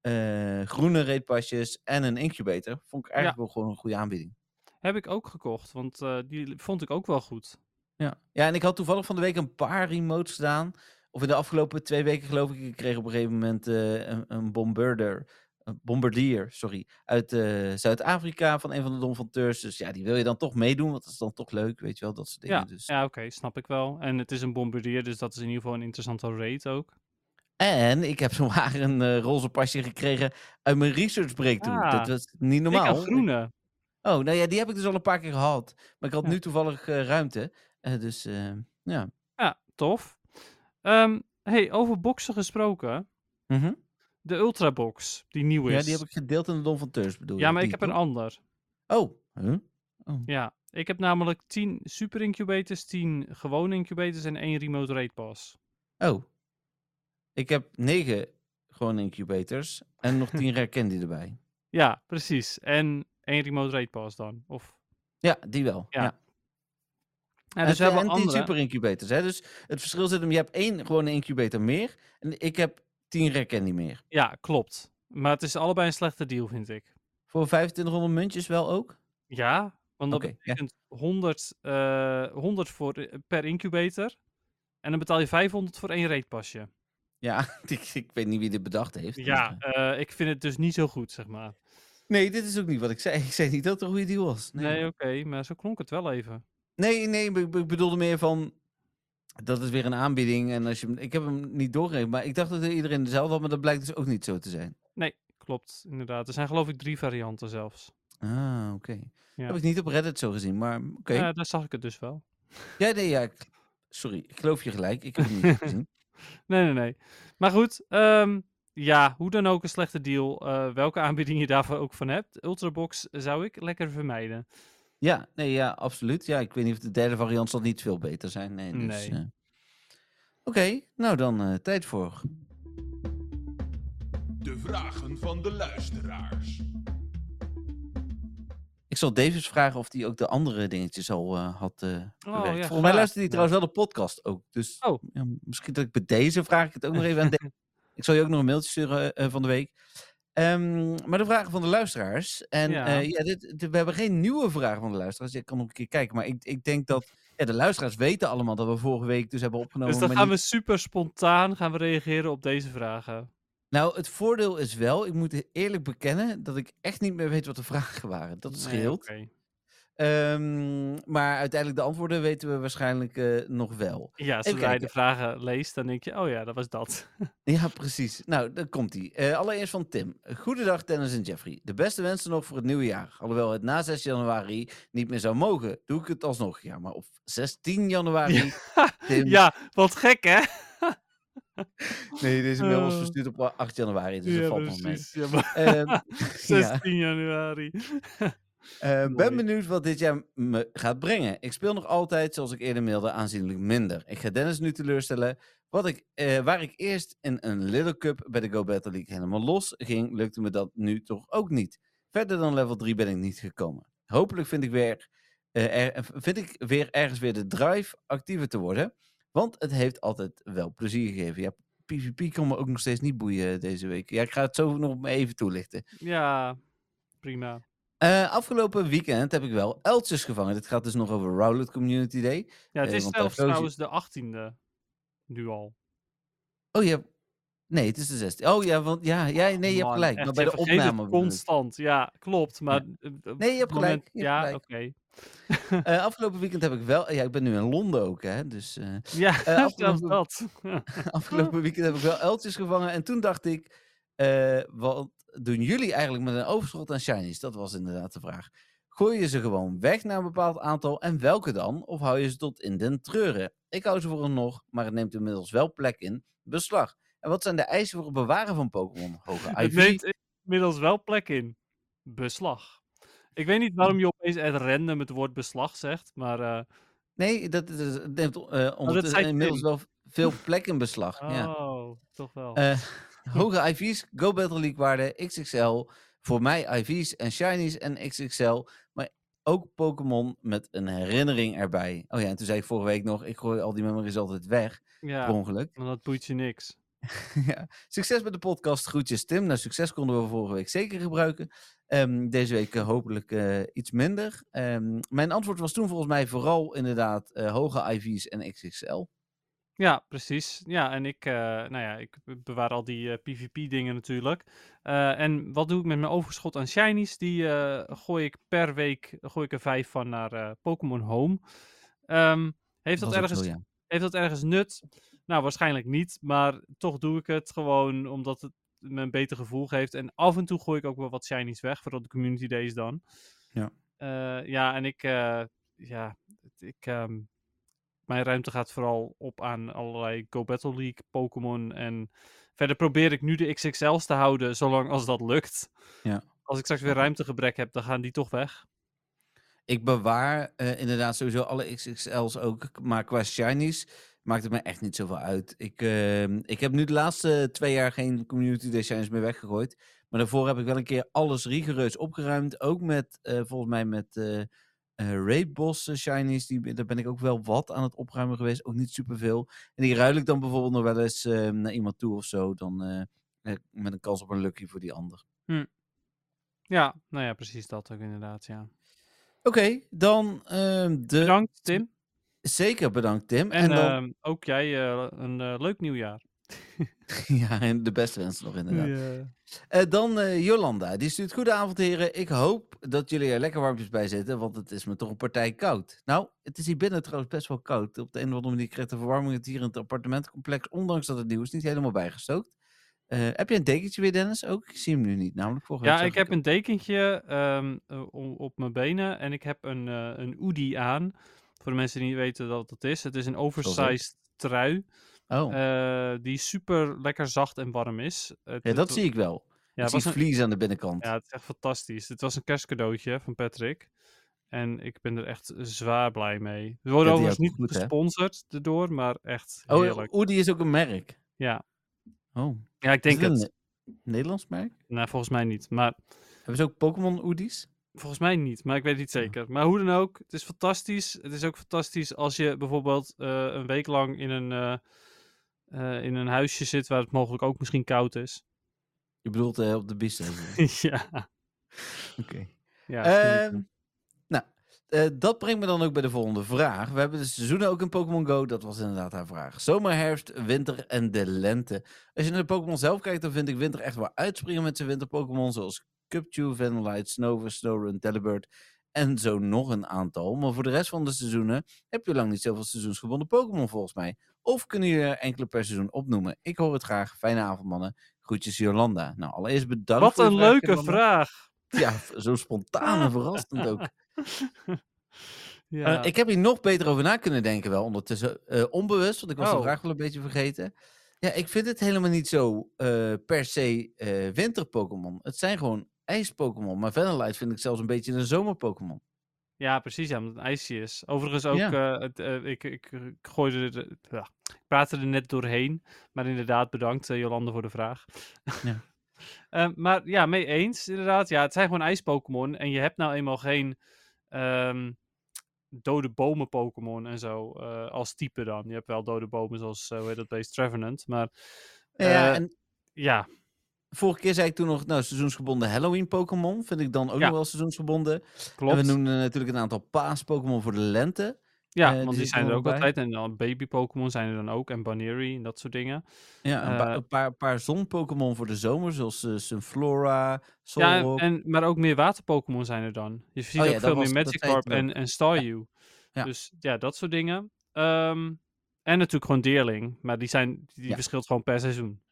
eh, groene reetpasjes en een incubator. Vond ik eigenlijk wel gewoon een goede aanbieding. Heb ik ook gekocht, want eh, die vond ik ook wel goed. Ja. ja, en ik had toevallig van de week een paar remotes gedaan. Of in de afgelopen twee weken geloof ik. Ik kreeg op een gegeven moment eh, een, een bombarder. Een bombardier, sorry. Uit eh, Zuid-Afrika van een van de donfanteurs. Dus ja, die wil je dan toch meedoen. Want dat is dan toch leuk, weet je wel. Dat soort dingen. Ja, Dus. ja oké, snap ik wel. En het is een bombardier, dus dat is in ieder geval een interessante raid ook. En ik heb [laughs] zomaar een eh, roze pasje gekregen uit mijn research breakthrough. Ah, dat was niet Ik normaal. had groene. Oh, nou ja, die heb ik dus al een paar keer gehad. Maar ik had Ja. nu toevallig eh, ruimte. Eh, dus eh, ja. Ja, tof. Ehm, hey, over boksen gesproken. Mhm. De Ultrabox, die nieuw is. ja, die heb ik gedeeld in de donfanteurs bedoel Ja, je, maar ik die, heb een toch? ander. Oh. Huh? Oh. Ja, ik heb namelijk 10 super incubators, 10 gewone incubators en één remote raid pass. Oh. Ik heb negen gewoon incubators en nog [laughs] tien rare candy erbij. Ja, precies. En één remote raid pass dan. Of... Ja, die wel. Ja. Ja. Ja, En, dus we eh, hebben en tien andere. super incubators. Hè? Dus het verschil zit hem, je hebt één gewone incubator meer en ik heb tien rare candy meer. Ja, klopt. Maar het is allebei een slechte deal, vind ik. Voor 2500 muntjes wel ook? Ja, want dat Oké, ja. betekent 100, eh, 100 voor, eh, per incubator. En dan betaal je 500 voor één raid pasje. Ja, [laughs] ik, ik weet niet wie dit bedacht heeft. maar, Ja, eh, eh, ik vind het dus niet zo goed, zeg maar. Nee, dit is ook niet wat ik zei. [laughs] Ik zei niet dat het een goede deal was. Nee, oké, maar zo klonk het wel even. Nee, nee, ik be- ik bedoelde meer van. Dat is weer een aanbieding. En als je hem, ik heb hem niet doorgegeven, maar ik dacht dat iedereen dezelfde had, maar dat blijkt dus ook niet zo te zijn. Klopt, inderdaad. Er zijn geloof ik drie varianten zelfs. Ah, oké. Ja. Heb ik niet op Reddit zo gezien, maar oké. Ja, daar zag ik het dus wel. Ja, nee, ja. ik- sorry, ik geloof je gelijk. Ik heb het [laughs] niet gezien. Nee, nee, nee. Maar goed, ehm, ja, hoe dan ook een slechte deal. eh, welke aanbieding je daarvoor ook van hebt. Ultrabox zou ik lekker vermijden. Ja, nee, ja, absoluut. Ja, ik weet niet of de derde variant zal niet veel beter zijn. Nee. Dus, Nee. eh, Oké, nou dan eh, tijd voor. De vragen van de luisteraars. Ik zal Davis vragen of hij ook de andere dingetjes al eh, had eh bewerkt. Oh, ja, Volgens mij graag. luisterde hij Ja. trouwens wel de podcast ook. Dus Oh. ja, misschien dat ik bij deze vraag ik het ook nog [laughs] even aan Davis. Ik zal je ook nog een mailtje sturen eh, van de week. Ehm, maar de vragen van de luisteraars. En Ja. eh, ja, dit, dit- we hebben geen nieuwe vragen van de luisteraars. Je kan nog een keer kijken. Maar ik, ik denk dat ja, de luisteraars weten allemaal dat we vorige week dus hebben opgenomen. [laughs] Dus dan maar gaan niet- we super spontaan gaan we reageren op deze vragen. Nou, het voordeel is wel, ik moet eerlijk bekennen, dat ik echt niet meer weet wat de vragen waren. Dat Nee, scheelt. oké. Eh, Ehm, maar uiteindelijk de antwoorden weten we waarschijnlijk eh, nog wel. Ja, zodra je kijken. de vragen leest, dan denk je, oh ja, dat was dat. Ja, precies. Nou, dan komt hij. allereerst van Tim. Goedendag Dennis en Jeffrey. De beste wensen nog voor het nieuwe jaar. Alhoewel het na 6 januari niet meer zou mogen, doe ik het alsnog. Ja, maar op 16 januari. Tim, [laughs] ja, wat gek hè? Nee, deze mail was Eh. verstuurd op 8 januari, dus dat ja, valt nog mee. precies. Ja, [laughs] maar [laughs] Ehm, 16 januari. Eh, Mooi. ben benieuwd wat dit jaar me gaat brengen. Ik speel nog altijd, zoals ik eerder mailde, aanzienlijk minder. Ik ga Dennis nu teleurstellen. Wat ik, eh, waar ik eerst in een Little Cup bij de Go Battle League helemaal los ging, lukte me dat nu toch ook niet. Verder dan level 3 ben ik niet gekomen. Hopelijk vind ik weer, eh, er- vind ik weer ergens weer de drive actiever te worden. Want het heeft altijd wel plezier gegeven. Ja, PvP kan me ook nog steeds niet boeien deze week. Ja, ik ga het zo nog even toelichten. Ja, prima. Eh, afgelopen weekend heb ik wel uiltjes gevangen. Dit gaat dus nog over Rowlet Community Day. Ja, het Eh, is want zelfs daar koos trouwens de 18e nu al. Oh, je hebt... Nee, het is de 16. Oh ja, want ja, ja nee, je hebt Man, gelijk. echt, maar bij je de vergeet het opname. bedoel ik. Constant, ja, klopt. Maar eh, eh, op Nee, je het hebt gelijk. moment- je hebt ja, gelijk. oké. Eh, afgelopen weekend heb ik wel. Ja, ik ben nu in Londen ook, hè? Dus eh, Ja, [laughs] Eh, zelfs afgelopen- dat. Ah, [laughs] afgelopen weekend heb ik wel uiltjes gevangen. En toen dacht ik, eh, wat doen jullie eigenlijk met een overschot aan shinies? Dat was inderdaad de vraag. Gooi je ze gewoon weg naar een bepaald aantal en welke dan? Of hou je ze tot in den treuren? Ik hou ze voor een nog, maar het neemt inmiddels wel plek in beslag. En wat zijn de eisen voor het bewaren van Pokémon? Hoge Het IV? neemt inmiddels wel plek in. Beslag. Ik weet niet waarom je opeens het random het woord beslag zegt, maar eh, Nee, dat is, het neemt eh, ondertussen zei inmiddels Tim. wel veel plek in beslag. Ja. oh, toch wel. Eh, [laughs] hoge IV's, Go Battle League waarde, XXL. Voor mij IV's en Shinies en XXL. Maar ook Pokémon met een herinnering erbij. Oh ja, en toen zei ik vorige week nog, ik gooi al die memories altijd weg. ja, Mm. Per ongeluk. want dat boeit je niks. [laughs] ja. Succes met de podcast. Groetjes Tim. Nou, succes konden we vorige week zeker gebruiken. Ehm, deze week eh, hopelijk eh, iets minder. Ehm, mijn antwoord was toen volgens mij vooral inderdaad eh, hoge IV's en XXL. Ja, precies. Ja, en ik, eh, nou ja, ik be- bewaar al die eh, PvP-dingen natuurlijk. Eh, en wat doe ik met mijn overschot aan shinies? Die eh, gooi ik per week, gooi ik er vijf van naar eh, Pokémon Home. Ehm, heeft, dat Was ook zo, ergens, ja. heeft dat ergens nut? Nou, waarschijnlijk niet. Maar toch doe ik het gewoon omdat het me een beter gevoel geeft. En af en toe gooi ik ook wel wat shinies weg, vooral de community days dan. Ja. Eh, ja, en ik, eh, ja, het- ik, ehm, mijn ruimte gaat vooral op aan allerlei Go Battle League Pokémon. En verder probeer ik nu de XXL's te houden, zolang als dat lukt. Ja. Als ik straks weer ruimtegebrek heb, dan gaan die toch weg. Ik bewaar eh, inderdaad sowieso alle XXL's ook. k- Maar qua shinies maakt het me echt niet zoveel uit. Ik, ehm, ik heb nu de laatste twee jaar geen community day shinies meer weggegooid. Maar daarvoor heb ik wel een keer alles rigoureus opgeruimd. Ook met, eh, volgens mij met eh eh, Raid Boss eh, shinies. Die, ben- daar ben ik ook wel wat aan het opruimen geweest. Ook niet superveel. En die ruil ik dan bijvoorbeeld nog wel eens eh, naar iemand toe of zo. Dan eh, eh, met een kans op een lucky voor die ander. Ja, nou ja, precies dat ook inderdaad, Eh, ja. Oké, dan ehm, de... Bedankt, Tim. Zeker bedankt Tim. En, dan... ehm, ook jij eh, een eh, leuk nieuwjaar. [laughs] Ja, en de beste wensen nog inderdaad. Ja. Eh, dan eh, Jolanda, die stuurt goedenavond heren. Ik hoop dat jullie er lekker warmpjes bij zitten, want het is me toch een partij koud. Nou, het is hier binnen trouwens best wel koud. Op de een of andere manier krijgt de verwarming het hier in het appartementencomplex, ondanks dat het nieuw is, niet helemaal bijgestookt. Eh, heb je een dekentje weer Dennis? Ook, ik zie hem nu niet, namelijk vorige Ja, week ik zag heb een dekentje ehm, eh, o- op mijn benen en ik heb een, eh een hoodie aan. Voor de mensen die niet weten wat dat is. Het is een oversized trui hem. Oh, eh, die super lekker zacht en warm is. Het- ja, het dat wa- zie ik wel. Ja, ik het zie was een- vlies aan de binnenkant. ja, het is echt fantastisch. Het was een kerstcadeautje van Patrick. En ik ben er echt zwaar blij mee. We die worden overigens had niet het goed, hè? gesponsord erdoor, maar echt oh, heerlijk. Oedi is ook een merk. Ja. Oh, Ja, ik denk is het. een Ne- Nederlands merk? Nou, volgens mij niet. Maar Hebben ze ook Pokémon Oedies? Volgens mij niet, maar ik weet het niet Ja. zeker. Maar hoe dan ook, het is fantastisch. Het is ook fantastisch als je bijvoorbeeld eh, een week lang in een, eh, eh, in een huisje zit waar het mogelijk ook misschien koud is. [laughs] Je bedoelt eh, op de bisten. ja. Oké. ja Ehm, zoiets. nou, eh, dat brengt me dan ook bij de volgende vraag. We hebben de seizoenen ook in Pokémon Go. Dat was inderdaad haar vraag. Zomer, herfst, winter en de lente. Als je naar de Pokémon zelf kijkt, dan vind ik winter echt waar uitspringen met zijn winter Pokémon. Zoals Cubchoo, Vanillite, Snover, Snowrun, Telebird En zo nog een aantal. Maar voor de rest van de seizoenen heb je lang niet zoveel seizoensgebonden Pokémon volgens mij. Of kunnen jullie er enkele per seizoen opnoemen? Ik hoor het graag. Fijne avond, mannen. Groetjes, Jolanda. Nou, allereerst bedankt. Wat voor je een leuke Jolanda. vraag. Ja, zo spontaan en verrassend ook. [laughs] Ja. Eh, ik heb hier nog beter over na kunnen denken wel ondertussen. eh, onbewust, want ik was de Oh. vraag wel een beetje vergeten. Ja, ik vind het helemaal niet zo eh, per se eh, winter-Pokémon. Het zijn gewoon ijs-Pokémon. Maar Vanillite vind ik zelfs een beetje een zomer-Pokémon. Ja, precies, ja, omdat het een ijsje is. Overigens ook, Ja. eh, het, eh, ik, ik, ik gooide er, ja, ik praatte er net doorheen, maar inderdaad bedankt eh, Jolande voor de vraag. Ja. [laughs] Eh, maar ja, mee eens inderdaad. Ja, het zijn gewoon ijs-Pokémon en je hebt nou eenmaal geen ehm, dode bomen Pokémon en zo eh, als type dan. Je hebt wel dode bomen zoals, eh hoe heet dat beest, Trevenant, maar ja, eh, en ja, vorige keer zei ik toen nog, nou, seizoensgebonden Halloween-Pokémon. Vind ik dan ook Ja. nog wel seizoensgebonden. klopt. En we noemden natuurlijk een aantal paas-Pokémon voor de lente. ja, eh, die want die zitten zijn er er ook nog bij. altijd en dan baby-Pokémon zijn er dan ook en Bannery en dat soort dingen. Ja, een, paar- Eh. een paar, paar zon-Pokémon voor de zomer, zoals eh, Sunflora, Ja, en- Solrock. en, maar ook meer water-Pokémon zijn er dan. Je ziet Oh ja, ook dat veel was- meer dat zei je Magikarp toen ook. en, en Staryu. Ja. Dus ja, dat soort dingen. Ehm, en natuurlijk gewoon Deerling. Maar die, zijn, die Ja. verschilt gewoon per seizoen.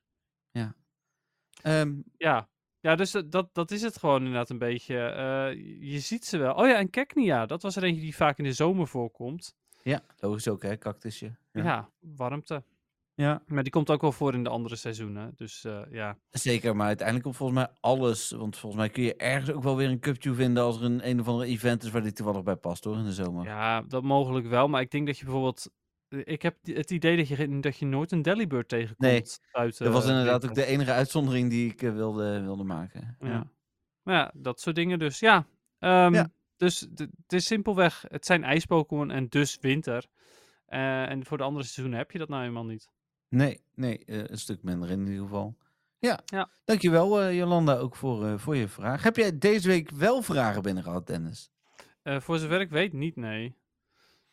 Ehm, Ja, ja dus dat, dat, dat is het gewoon inderdaad een beetje. Eh, je ziet ze wel. Oh ja, en Keknia. Dat was er eentje die vaak in de zomer voorkomt. ja, logisch ook, hè, cactusje. Ja, Ja. warmte. ja. Maar die komt ook wel voor in de andere seizoenen. Dus eh, ja. Zeker, maar uiteindelijk komt volgens mij alles. Want volgens mij kun je ergens ook wel weer een cuptje vinden als er een, een of andere event is waar die toevallig bij past hoor in de zomer. Ja, dat mogelijk wel. Maar ik denk dat je bijvoorbeeld. eh, Ik heb het idee dat je, geen- dat je nooit een Delibird tegenkomt. buiten, dat was eh, inderdaad winter. ook de enige uitzondering die ik eh, wilde, wilde maken. Ja. Ja. Maar ja, dat soort dingen dus. Ja. ehm, Ja. Dus d- het is simpelweg, het zijn ijspokémon en dus winter. Eh, en voor de andere seizoenen heb je dat nou helemaal niet. Nee, nee, eh, een stuk minder in ieder geval. Ja, Ja. dankjewel eh, Jolanda ook voor, eh, voor je vraag. Heb jij deze week wel vragen binnen gehad, Dennis? Eh, voor zover ik weet niet, nee.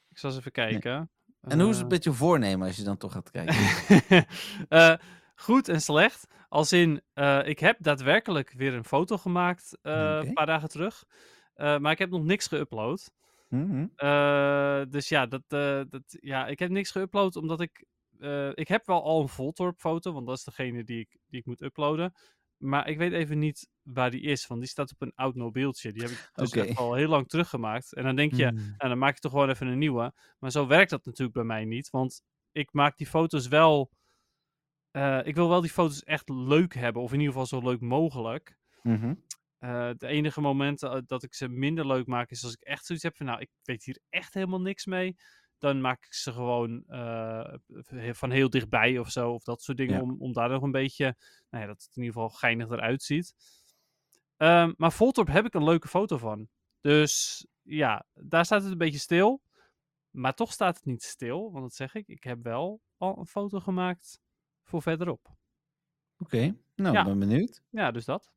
Ik zal eens even kijken. En hoe is het Eh, met je voornemen als je dan toch gaat kijken? [laughs] Eh, goed en slecht. Als in, eh, ik heb daadwerkelijk weer een foto gemaakt eh, Oké. een paar dagen terug. Eh, maar ik heb nog niks geüpload. Mhm. Eh, dus ja, dat, eh, dat, ja, ik heb niks geüpload omdat ik... eh, ik heb wel al een Voltorb foto, want dat is degene die ik, die ik moet uploaden. Maar ik weet even niet waar die is, want die staat op een oud mobieltje. Die heb ik dus Oké. echt al heel lang teruggemaakt. En dan denk je, Mm. nou, dan maak je toch gewoon even een nieuwe. Maar zo werkt dat natuurlijk bij mij niet. Want ik maak die foto's wel. eh, ik wil wel die foto's echt leuk hebben. Of in ieder geval zo leuk mogelijk. Mhm. Eh de enige momenten eh, dat ik ze minder leuk maak is als ik echt zoiets heb van, nou, ik weet hier echt helemaal niks mee. Dan maak ik ze gewoon eh, he- van heel dichtbij of zo. Of dat soort dingen. Ja. Om, om daar nog een beetje, nou ja, dat het in ieder geval geinig eruit ziet. Ehm, maar Voltorb heb ik een leuke foto van. Dus ja, daar staat het een beetje stil. Maar toch staat het niet stil. Want dat zeg ik, ik heb wel al een foto gemaakt voor verderop. Oké, nou, Ja. ik ben benieuwd. Ja, dus dat.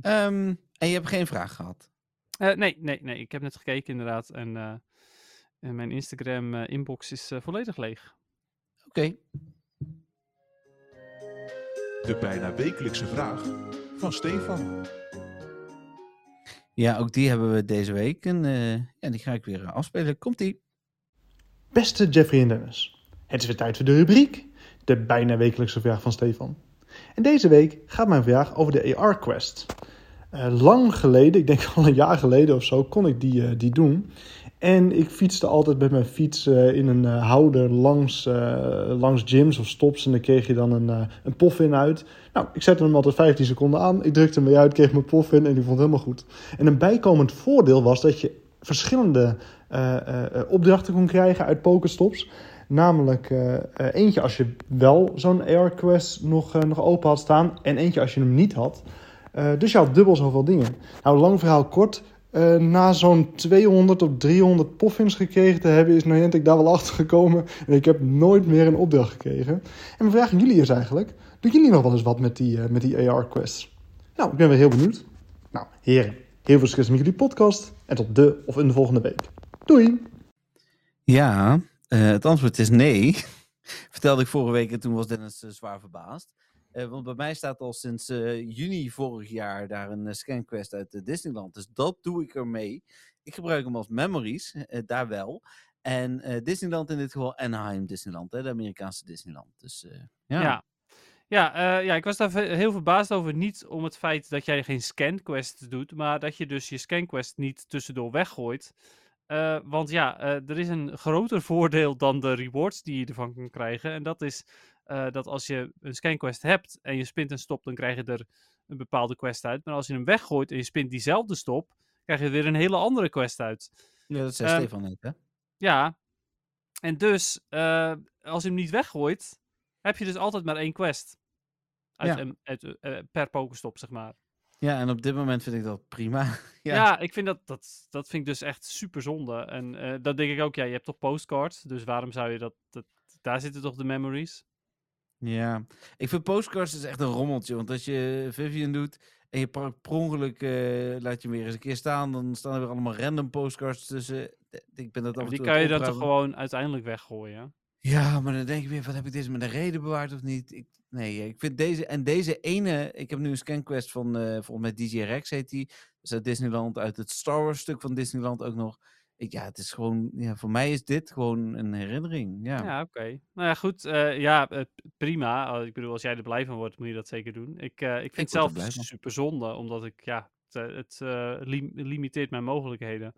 Ehm, en je hebt geen vraag gehad? Eh, nee, nee, nee. Ik heb net gekeken inderdaad. En, eh, en mijn Instagram-inbox is eh, volledig leeg. Oké, De bijna wekelijkse vraag van Stefan. Ja, ook die hebben we deze week. En eh, ja, die ga ik weer eh, afspelen. Komt-ie. Beste Jeffrey en Dennis, het is weer tijd voor de rubriek, de bijna wekelijkse vraag van Stefan. En deze week gaat mijn vraag over de AR Quest. Eh, lang geleden, ik denk al een jaar geleden of zo, kon ik die, eh, die doen. En ik fietste altijd met mijn fiets eh, in een eh, houder langs, eh, langs gyms of stops. En dan kreeg je dan een, eh, een pof in uit. Nou, ik zette hem altijd 15 seconden aan. Ik drukte hem weer uit, kreeg mijn pof in en die vond het helemaal goed. En een bijkomend voordeel was dat je verschillende eh, eh, eh, opdrachten kon krijgen uit Pokestops. Namelijk eh, eh, eentje als je wel zo'n AR Quest nog, eh, nog open had staan. En eentje als je hem niet had. Eh, dus je had dubbel zoveel dingen. Nou, lang verhaal kort. eh, na zo'n 200 of 300 poffins gekregen te hebben, is Niantic daar wel achter gekomen. En ik heb nooit meer een opdracht gekregen. En mijn vraag aan jullie is eigenlijk: doen jullie nog wel eens wat met die, eh, met die AR-quests? Nou, ik ben weer heel benieuwd. Nou, heren, heel veel succes met jullie podcast. En tot de of in de volgende week. Doei! Ja, eh, het antwoord is nee. [laughs] Vertelde ik vorige week en toen was Dennis eh, zwaar verbaasd. Eh, want bij mij staat al sinds eh, juni vorig jaar daar een eh, scanquest uit eh, Disneyland. Dus dat doe ik ermee. ik gebruik hem als memories, eh, daar wel. En eh, Disneyland in dit geval Anaheim Disneyland, hè, de Amerikaanse Disneyland. Dus eh, ja. Ja. Ja, eh, ja, ik was daar ve- heel verbaasd over. Niet om het feit dat jij geen scanquest doet, maar dat je dus je scanquest niet tussendoor weggooit. Eh, want ja, eh, er is een groter [laughs] voordeel dan de rewards die je ervan kan krijgen. En dat is eh, dat als je een scanquest hebt en je spint en stopt, dan krijg je er een bepaalde quest uit. Maar als je hem weggooit en je spint diezelfde stop, krijg je weer een hele andere quest uit. Ja, dat zei Ehm, Stefan net, hè? Ja. En dus, eh, als je hem niet weggooit, heb je dus altijd maar één quest. Uit, Ja. een- uit, eh, eh, per pokestop, zeg maar. Ja, en op dit moment vind ik dat prima. [laughs] Ja, Ja. ik vind dat, dat, dat vind ik dus echt super zonde. En eh dat denk ik ook, ja, je hebt toch postcards, dus waarom zou je dat, dat... Daar zitten toch de memories? ja. Ik vind postcards dus echt een rommeltje. Want als je Vivian doet en je pakt per ongeluk, eh, laat je hem weer eens een keer staan, dan staan er weer allemaal random postcards tussen. Ik ben dat af en die toe kan aan je het dan toch opruimen. gewoon uiteindelijk weggooien? Ja, maar dan denk ik weer, wat heb ik deze met een reden bewaard of niet? Ik, nee, ik vind deze, en deze ene, ik heb nu een scanquest van, eh volgens mij DJ Rex heet die, dus uit Disneyland, uit het Star Wars stuk van Disneyland ook nog. Ik, ja, het is gewoon, ja, voor mij is dit gewoon een herinnering, ja. Ja, oké. Nou ja, goed. eh, ja, eh, p- prima. Eh, ik bedoel, als jij er blij van wordt, moet je dat zeker doen. Ik, eh, ik word er vind het zelf blij van. super zonde, omdat ik, ja, het, eh, het eh, lim- limiteert mijn mogelijkheden.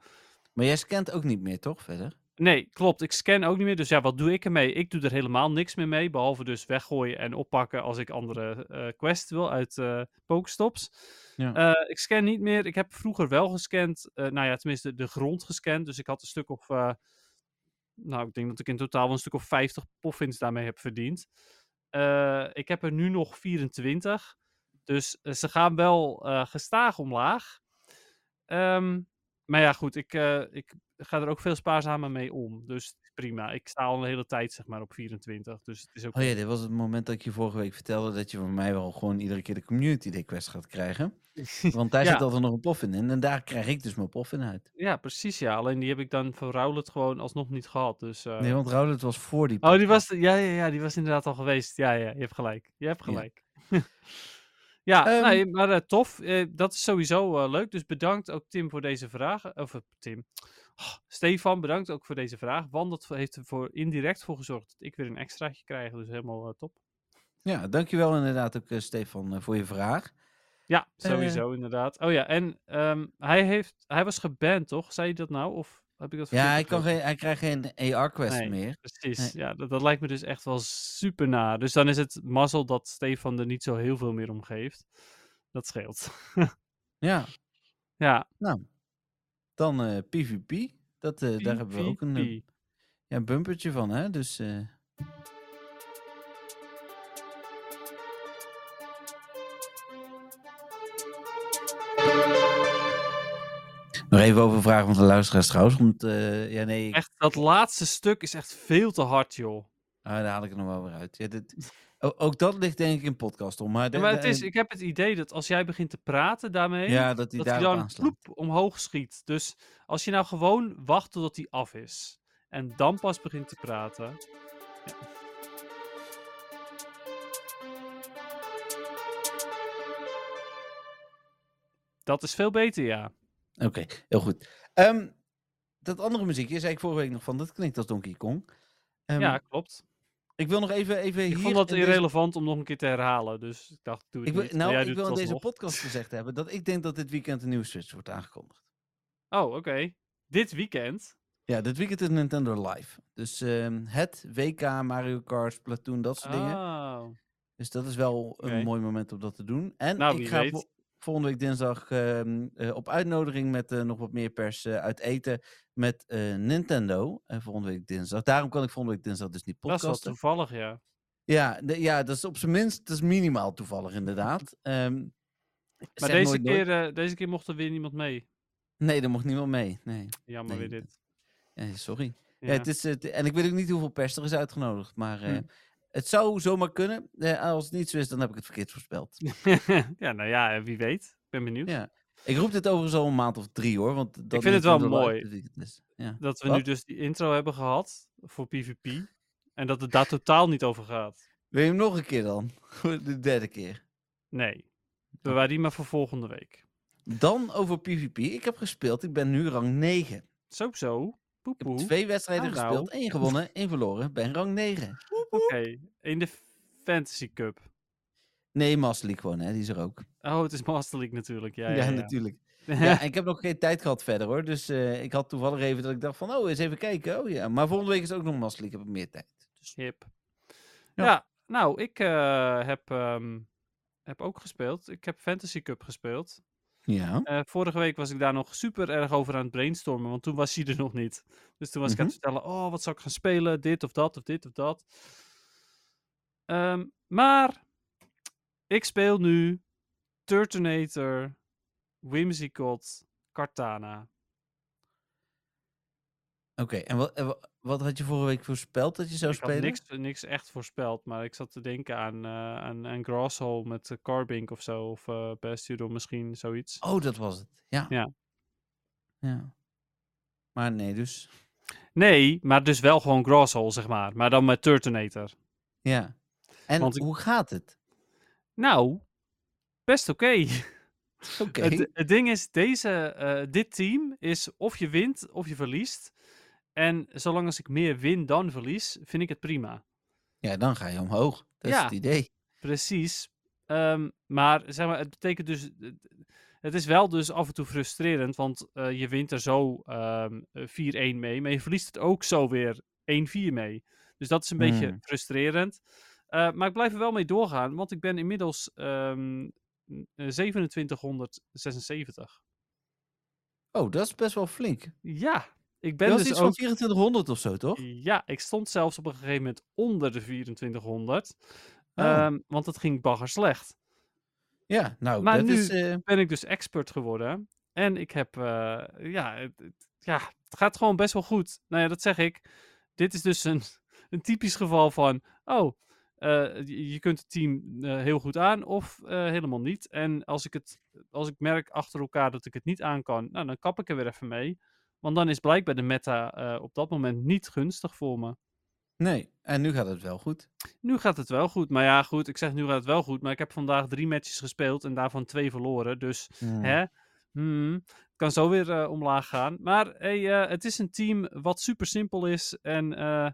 Maar jij scant ook niet meer, toch, verder? Nee, klopt. Ik scan ook niet meer. Dus ja, wat doe ik ermee? Ik doe er helemaal niks meer mee. Behalve dus weggooien en oppakken als ik andere eh, quests wil uit eh Pokestops. Ja. Eh, ik scan niet meer. Ik heb vroeger wel gescand. eh, nou ja, tenminste de grond gescand. Dus ik had een stuk of... eh, nou, ik denk dat ik in totaal wel een stuk of 50 poffins daarmee heb verdiend. Eh, ik heb er nu nog 24. Dus eh, ze gaan wel eh, gestaag omlaag. Ehm, maar ja, goed. Ik, eh, ik ga er ook veel spaarzamer mee om. Dus het is prima. Ik sta al een hele tijd zeg maar op 24. Dus het is ook... Oh ja, dit was het moment dat ik je vorige week vertelde dat je van mij wel gewoon iedere keer de community day quest gaat [laughs] krijgen. Want daar Ja. zit altijd nog een poffin in en daar krijg ik dus mijn poffin uit. Ja, precies ja. Alleen die heb ik dan voor Rowlet gewoon alsnog niet gehad. Dus, eh, Nee, want Raoul, het was voor die Oh, die podcast. was... Ja, ja, ja, die was inderdaad al geweest. Ja, ja, je hebt gelijk. Je Ja. hebt gelijk. [laughs] Ja, Ehm, nee, maar eh, tof. Eh, dat is sowieso eh, leuk. Dus bedankt ook Tim voor deze vraag. Of eh, Tim. Oh, Stefan, bedankt ook voor deze vraag. Want dat heeft er voor indirect voor gezorgd dat ik weer een extraatje krijg. Dus helemaal eh, top. Ja, dankjewel inderdaad ook eh, Stefan eh, voor je vraag. Ja, Eh, sowieso inderdaad. Oh ja, en ehm, hij, heeft, hij was geband, toch? Zei je dat nou? Of heb ik dat Ja, verkeerd hij, kan begrepen? geen, hij krijgt geen AR-quest Nee. meer. Precies, Nee. ja, dat, dat lijkt me dus echt wel super na. Dus dan is het mazzel dat Stefan er niet zo heel veel meer om geeft. Dat scheelt. [laughs] Ja, ja, dan eh, PvP. Dat, eh, daar hebben we ook een eh, PvP. ja, bumpertje van, hè? Dus eh, nog even over vragen van de luisteraars trouwens. Want, eh, ja, nee, ik- Echt, dat laatste stuk is echt veel te hard, joh. ah, daar haal ik het nog wel weer uit. Ja, dit, o- ook dat ligt denk ik in podcast om. Maar, Ja, de- maar de- het is, ik heb het idee dat als jij begint te praten daarmee, ja, dat hij dat hij daarop dan aanslaat. ploep omhoog schiet. Dus als je nou gewoon wacht totdat hij af is en dan pas begint te praten. Dat is veel beter, ja. Oké, heel goed. Ehm, dat andere muziekje zei ik vorige week nog van, dat klinkt als Donkey Kong. Ehm, ja, klopt. Ik wil nog even, even Ik hier... vond dat in deze- irrelevant om nog een keer te herhalen, dus ik dacht, doe het Ik wil, niet. maar nou, jij ik doet wil in het deze alsnog. podcast gezegd hebben dat ik denk dat dit weekend een nieuwe Switch wordt aangekondigd. Oh, oké. Dit weekend? Ja, dit weekend is Nintendo Live. Dus ehm, het WK, Mario Kart, Splatoon, dat soort dingen. Oh. Dus dat is wel Oké. een mooi moment om dat te doen. En Nou, ik wie ga weet. vo- volgende week dinsdag ehm, eh, op uitnodiging met eh, nog wat meer pers eh, uit eten met eh, Nintendo. En volgende week dinsdag. Daarom kan ik volgende week dinsdag dus niet Dat is wel podcasten. toevallig, ja. Ja, de- ja, dat is op zijn minst, dat is minimaal toevallig inderdaad. Ehm, Maar zeg deze, nooit nooit. keer, eh, deze keer mocht er weer niemand mee. Nee, daar mocht niemand mee. Nee, Jammer Nee, weer dit. eh, sorry. Ja. Ja. het is, eh, t- en ik weet ook niet hoeveel pers er is uitgenodigd, maar eh, Hm. het zou zomaar kunnen. Eh, als het niet zo is, dan heb ik het verkeerd [laughs] voorspeld. [laughs] ja, nou ja, eh, wie weet. Ik ben benieuwd. Ja. Ik roep dit overigens al een maand of drie hoor. Want dat vind het wel Nintendo Live mooi. dit weekend is. Ja. Dat we nu Wat? dus die intro hebben gehad voor PvP. En dat het daar totaal niet over gaat. Wil je hem [laughs] nog een keer dan? De derde keer. Nee. Bewaar die maar voor volgende week. Dan over PvP. Ik heb gespeeld. Ik ben nu rang 9. Zo, zo. Ik heb Poepoe. twee wedstrijden Ah, nou. gespeeld. één gewonnen, één verloren. Ben rang 9. Oké, in de Fantasy Cup. Nee, Master League gewoon, hè. Die is er ook. Oh, het is Master League natuurlijk. Ja, [laughs] Ja, ja, [laughs] ja. natuurlijk. Ja, en ik heb nog geen tijd gehad verder, hoor. Dus eh, ik had toevallig even dat ik dacht van... Oh, eens even kijken. Oh ja. Maar volgende week is ook nog Master League. Heb ik meer tijd. Hip. Ja. Ja. nou, ik eh, heb, ehm, heb ook gespeeld. Ik heb Fantasy Cup gespeeld. Ja. Eh, vorige week was ik daar nog super erg over aan het brainstormen, want toen was hij er [laughs] nog niet. Dus toen was ik aan het vertellen, oh, wat zou ik gaan spelen? Dit of dat, of dit of dat. Ehm, maar ik speel nu Turtonator, Whimsicott, Cartana. Oké. En wat, en wa- wat had je vorige week voorspeld dat je zou ik had spelen? niks, niks echt voorspeld, maar ik zat te denken aan, eh aan, aan Grasshole met eh, Carbink of zo, of eh Bastudor misschien, zoiets. Oh, dat was het. Ja. Ja. Ja. Maar nee, dus. Nee, maar dus wel gewoon Grasshole, zeg maar. Maar dan met Turtonator. Ja. En Want ik- hoe gaat het? Nou, best oké. Oké. Het, eh, het ding is, deze, eh, dit team is of je wint of je verliest. En zolang als ik meer win dan verlies, vind ik het prima. Ja, dan ga je omhoog. Dat is Ja. het idee. Precies. Ehm, maar zeg maar, het betekent dus. het- Het is wel dus af en toe frustrerend, want eh, je wint er zo ehm, eh, 4-1 mee, maar je verliest het ook zo weer 1-4 mee. Dus dat is een beetje Hmm. frustrerend. Eh, maar ik blijf er wel mee doorgaan, want ik ben inmiddels ehm, n- eh, 2776. Oh, dat is best wel flink. Ja, ik ben Dat is dus iets ook van 2400 of zo, toch? ja, ik stond zelfs op een gegeven moment onder de 2400. Oh. ehm, want het ging bagger slecht. Ja, nou, Maar dat nu- is... eh, ben ik dus expert geworden. En ik heb, eh, ja, het, het- ja, het gaat gewoon best wel goed. Nou ja, dat zeg ik. Dit is dus een, [laughs] een typisch geval van, oh, eh, je je kunt het team eh, heel goed aan of eh, helemaal niet. En als ik, het, als ik merk achter elkaar dat ik het niet aan kan, nou, dan kap ik er weer even mee. Want dan is blijkbaar de meta eh, op dat moment niet gunstig voor me. nee, en nu gaat het wel goed. Nu gaat het wel goed. Maar ja, goed, ik zeg nu gaat het wel goed. Maar ik heb vandaag drie matches gespeeld en daarvan twee verloren. Dus Hè? Mm. Hmm, het kan zo weer eh, omlaag gaan. Maar hey, eh, het is een team wat super simpel is. En eh,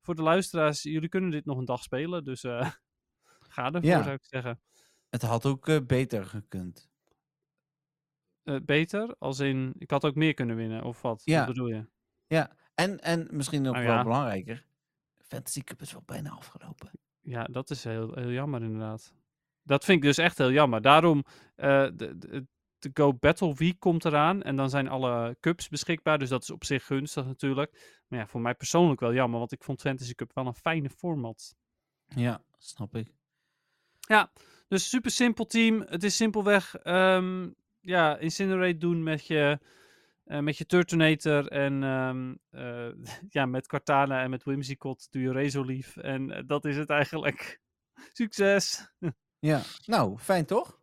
voor de luisteraars, jullie kunnen dit nog een dag spelen. Dus eh, [laughs] ga ervoor, Ja. zou ik zeggen. Het had ook eh, beter gekund. Eh, beter, als in, ik had ook meer kunnen winnen, of wat? Ja. Wat bedoel je? Ja, en, en misschien nog Nou wel ja. belangrijker. Fantasy Cup is wel bijna afgelopen. Ja, dat is heel, heel jammer inderdaad. Dat vind ik dus echt heel jammer. Daarom, eh, de, de, de Go Battle Week komt eraan. En dan zijn alle cups beschikbaar. Dus dat is op zich gunstig natuurlijk. Maar ja, voor mij persoonlijk wel jammer. Want ik vond Fantasy Cup wel een fijne format. Ja, snap ik. Dus super simpel team. Het is simpelweg ehm, ja, incinerate doen met je, eh, met je Turtonator en ehm, eh, [laughs] ja, met Cortana en met Whimsicott doe je Razorleaf. En eh, dat is het eigenlijk. [laughs] Succes! Ja, nou, fijn toch?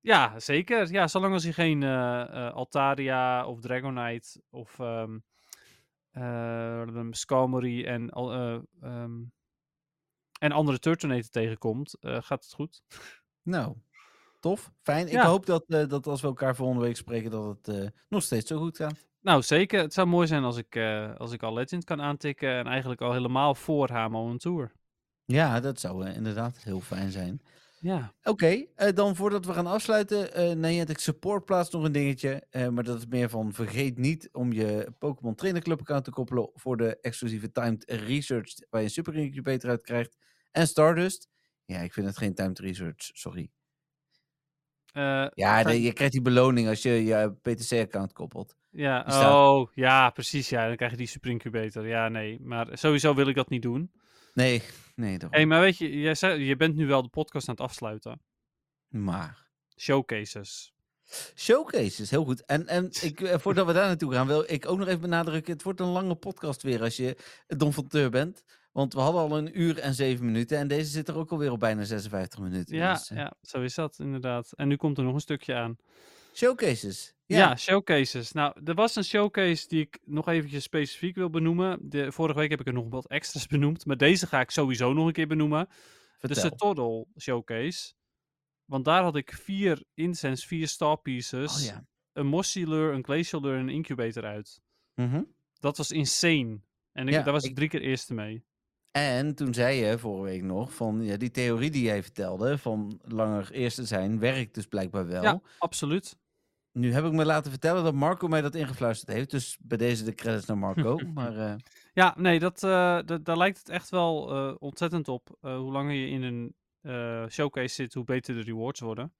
Ja, zeker. Ja, zolang als je geen eh, eh, Altaria of Dragonite of ehm eh, Skarmory en, al- eh, ehm, en andere Turtonator tegenkomt, eh, gaat het goed. Nou, tof, fijn. Ik Ja. hoop dat, eh, dat als we elkaar volgende week spreken, dat het eh, nog steeds zo goed gaat. Nou, zeker. Het zou mooi zijn als ik, eh, als ik al Legend kan aantikken. En eigenlijk al helemaal voor Hamo on Tour. Ja, dat zou eh, inderdaad heel fijn zijn. Ja. Oké, eh, dan voordat we gaan afsluiten, eh Niantic Support plaatst nog een dingetje. eh, maar dat is meer van vergeet niet om je Pokémon Trainer Club account te koppelen voor de exclusieve timed research waar je een super incubator uit krijgt. En Stardust. Ja, ik vind het geen timed research, sorry. Eh, Ja, de- Fijn. je krijgt die beloning als je je PTC-account koppelt. ja. die staat- Oh, ja, precies. Ja, dan krijg je die Super Incubator. Ja, nee. Maar sowieso wil ik dat niet doen. Nee, nee, daarom. Hé, hey, maar weet je, jij zei, je bent nu wel de podcast aan het afsluiten. maar. Showcases. Showcases, heel goed. En, [laughs] en ik, eh, voordat we daar naartoe gaan, wil ik ook nog even benadrukken: het wordt een lange podcast weer als je Don van Teur bent. Want we hadden al een uur en zeven minuten en deze zit er ook alweer op bijna 56 minuten. Ja, Dus, eh, ja, zo is dat inderdaad. En nu komt er nog een stukje aan. Showcases. Ja. dus Ja. showcases. Nou, er was een showcase die ik nog eventjes specifiek wil benoemen. De, vorige week heb ik er nog wat extra's [laughs] benoemd. Maar deze ga ik sowieso nog een keer benoemen. vertel. De Satoddle Showcase Want daar had ik vier incense, vier star pieces, Oh ja. een mossy lure, een glacial lure en een incubator uit. Mhm. Dat was insane. En ik, Ja, daar was ik ik- drie keer eerste mee. En toen zei je vorige week nog van ja, die theorie die jij vertelde van langer eerste zijn werkt dus blijkbaar wel. Ja, absoluut. Nu heb ik me laten vertellen dat Marco mij dat ingefluisterd heeft. Dus bij deze de credits naar [laughs] Marco. maar eh, Ja, nee, dat, eh, dat- daar lijkt het echt wel eh, ontzettend op. Eh, hoe langer je in een eh, showcase zit, hoe beter de rewards worden.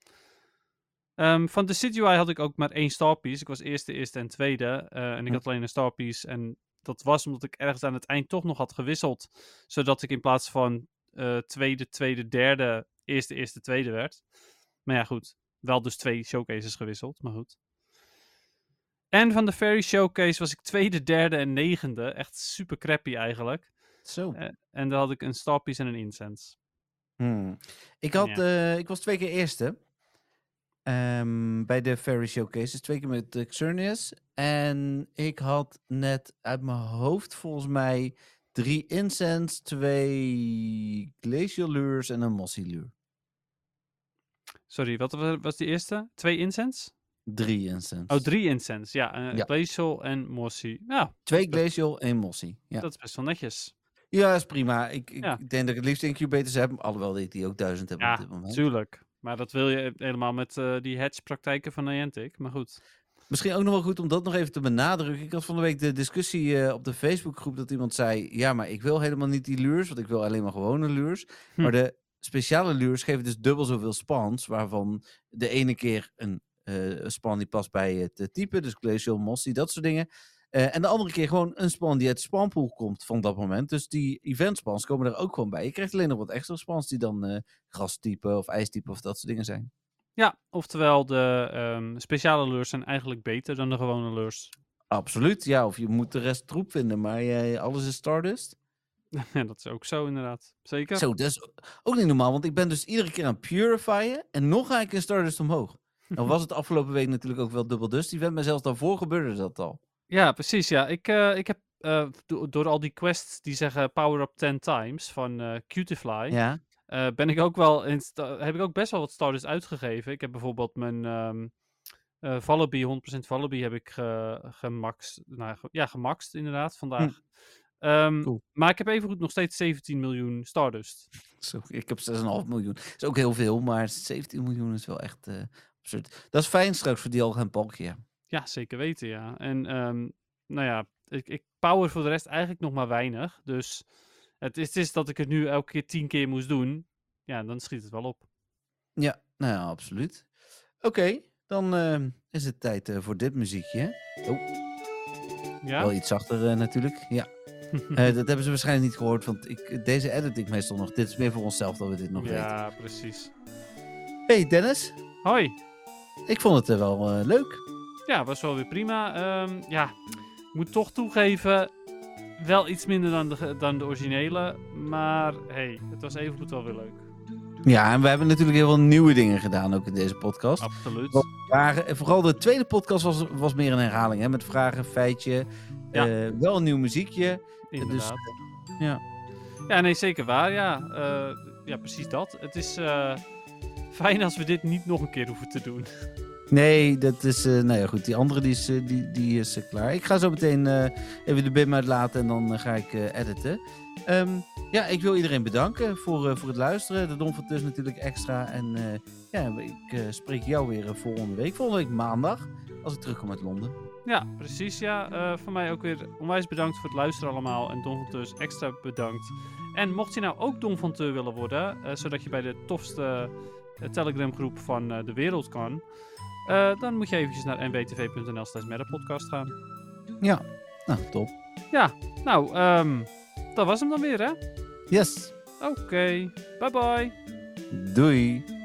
Ehm, van de Decidueye had ik ook maar één star piece. Ik was eerste, eerste en tweede. eh, en ik Hm. had alleen een star piece. En dat was omdat ik ergens aan het eind toch nog had gewisseld. Zodat ik in plaats van eh, tweede, tweede, derde, eerste, eerste, tweede werd. Maar ja, goed. Wel dus twee showcases gewisseld, maar goed. En van de Fairy Showcase was ik tweede, derde en negende. Echt super crappy eigenlijk. zo. Eh, En daar had ik een star piece en een incense. Hmm. Ik, had, Ja. eh, ik was twee keer eerste. Ehm, bij de Fairy Showcases. Twee keer met de Xerneas. En ik had net uit mijn hoofd volgens mij drie incense, twee glacial lures en een mossy lure. Sorry, wat wa- was die eerste? Twee incense? Drie incense. Oh, drie incense. Ja, eh Ja. Glacial en Mossy. Nou, Twee glacial, één mossy. Ja. dat is best wel netjes. Ja, is prima. Ik, ik Ja. denk dat ik het liefst incubators heb. Alhoewel ik die ook duizend heb op Ja, dit moment. tuurlijk. Maar dat wil je helemaal met eh, die hedge-praktijken van Niantic. Maar goed. Misschien ook nog wel goed om dat nog even te benadrukken. Ik had van de week de discussie eh, op de Facebookgroep dat iemand zei... Ja, maar ik wil helemaal niet die lures, want ik wil alleen maar gewone lures. Hm. Maar de speciale lures geven dus dubbel zoveel spans... waarvan de ene keer een eh, span die past bij het eh, type... dus glacial, mossy, dat soort dingen. Eh, en de andere keer gewoon een span die uit de spanpool komt van dat moment. Dus die eventspans komen er ook gewoon bij. Je krijgt alleen nog wat extra spans die dan eh grastype of ijstype of dat soort dingen zijn. Ja, oftewel, de ehm, speciale lures zijn eigenlijk beter dan de gewone [laughs] lures. Absoluut, ja. Of je moet de rest troep vinden, maar jij- alles is Stardust. Ja, dat is ook zo inderdaad. Zeker? Zo, dat is ook niet normaal, want ik ben dus iedere keer aan het purifyen en nog ga ik in Stardust omhoog. Dan was het afgelopen week natuurlijk ook wel dubbel dust. Die werd maar zelfs daarvoor gebeurde dat al. Ja, precies. Ja, ik, eh, ik heb eh, do- door al die quests die zeggen power up 10 times van eh Cutifly, Ja, eh, ben ik ook wel in sta- heb ik ook best wel wat starters uitgegeven. Ik heb bijvoorbeeld mijn ehm eh, Vallaby, 100% Vallaby heb ik ge, gemaxt. Nou, ge- ja, gemaxt inderdaad vandaag. Ehm, Hm. Cool. Maar ik heb evengoed nog steeds 17 miljoen Stardust. zo, ik heb 6,5 miljoen. Dat is ook heel veel, maar 17 miljoen is wel echt eh, absurd. Dat is fijn straks voor die al gaan palkje. ja. Ja, zeker weten, ja. En ehm, nou ja, ik, ik power voor de rest eigenlijk nog maar weinig. Dus het is, het is dat ik het nu elke keer tien keer moest doen. Ja, dan schiet het wel op. Ja, nou ja, absoluut. Oké, dan eh, is het tijd eh, voor dit muziekje. hè? Wel Ja? iets zachter eh, natuurlijk, [laughs] ja. Eh, dat hebben ze waarschijnlijk niet gehoord, want ik, deze edit ik meestal nog. Dit is meer voor onszelf dat we dit nog weten. ja, precies. Hey Dennis, Hoi. ik vond het eh, wel eh, leuk. Ja, was wel weer prima. Ehm, ja, ik moet toch toegeven, wel iets minder dan de, ge- dan de originele. Maar hey, het was evengoed wel weer leuk. Ja, en we hebben natuurlijk heel veel nieuwe dingen gedaan ook in deze podcast. Absoluut. Wat- Vragen, en vooral de tweede podcast was, was meer een herhaling, hè? Met vragen, feitje, Ja. eh, wel een nieuw muziekje. Inderdaad. ja. Ja, nee, zeker waar. Ja, Eh, ja precies dat. Het is eh, fijn als we dit niet nog een keer hoeven te doen. Nee, dat is, eh nou ja goed, die andere die is, eh, die, die is eh, klaar. Ik ga zo meteen eh, even de BIM uitlaten en dan eh, ga ik eh, editen. Ehm, ja, ik wil iedereen bedanken voor, eh, voor het luisteren. De Don van Tus natuurlijk extra. En eh, ja, ik eh, spreek jou weer eh, volgende week. Volgende week maandag, als ik terugkom uit Londen. Ja, precies. Ja, Eh, van mij ook weer onwijs bedankt voor het luisteren allemaal. En Don van Tus extra bedankt. En mocht je nou ook Don van Teur willen worden, eh, zodat je bij de tofste eh, Telegram-groep van eh, de wereld kan, eh, dan moet je eventjes naar nwtv.nl slash podcast gaan. Ja, nou, top. Nou, ehm, dat was hem dan weer, hè? Yes, Oké, bye bye. doei.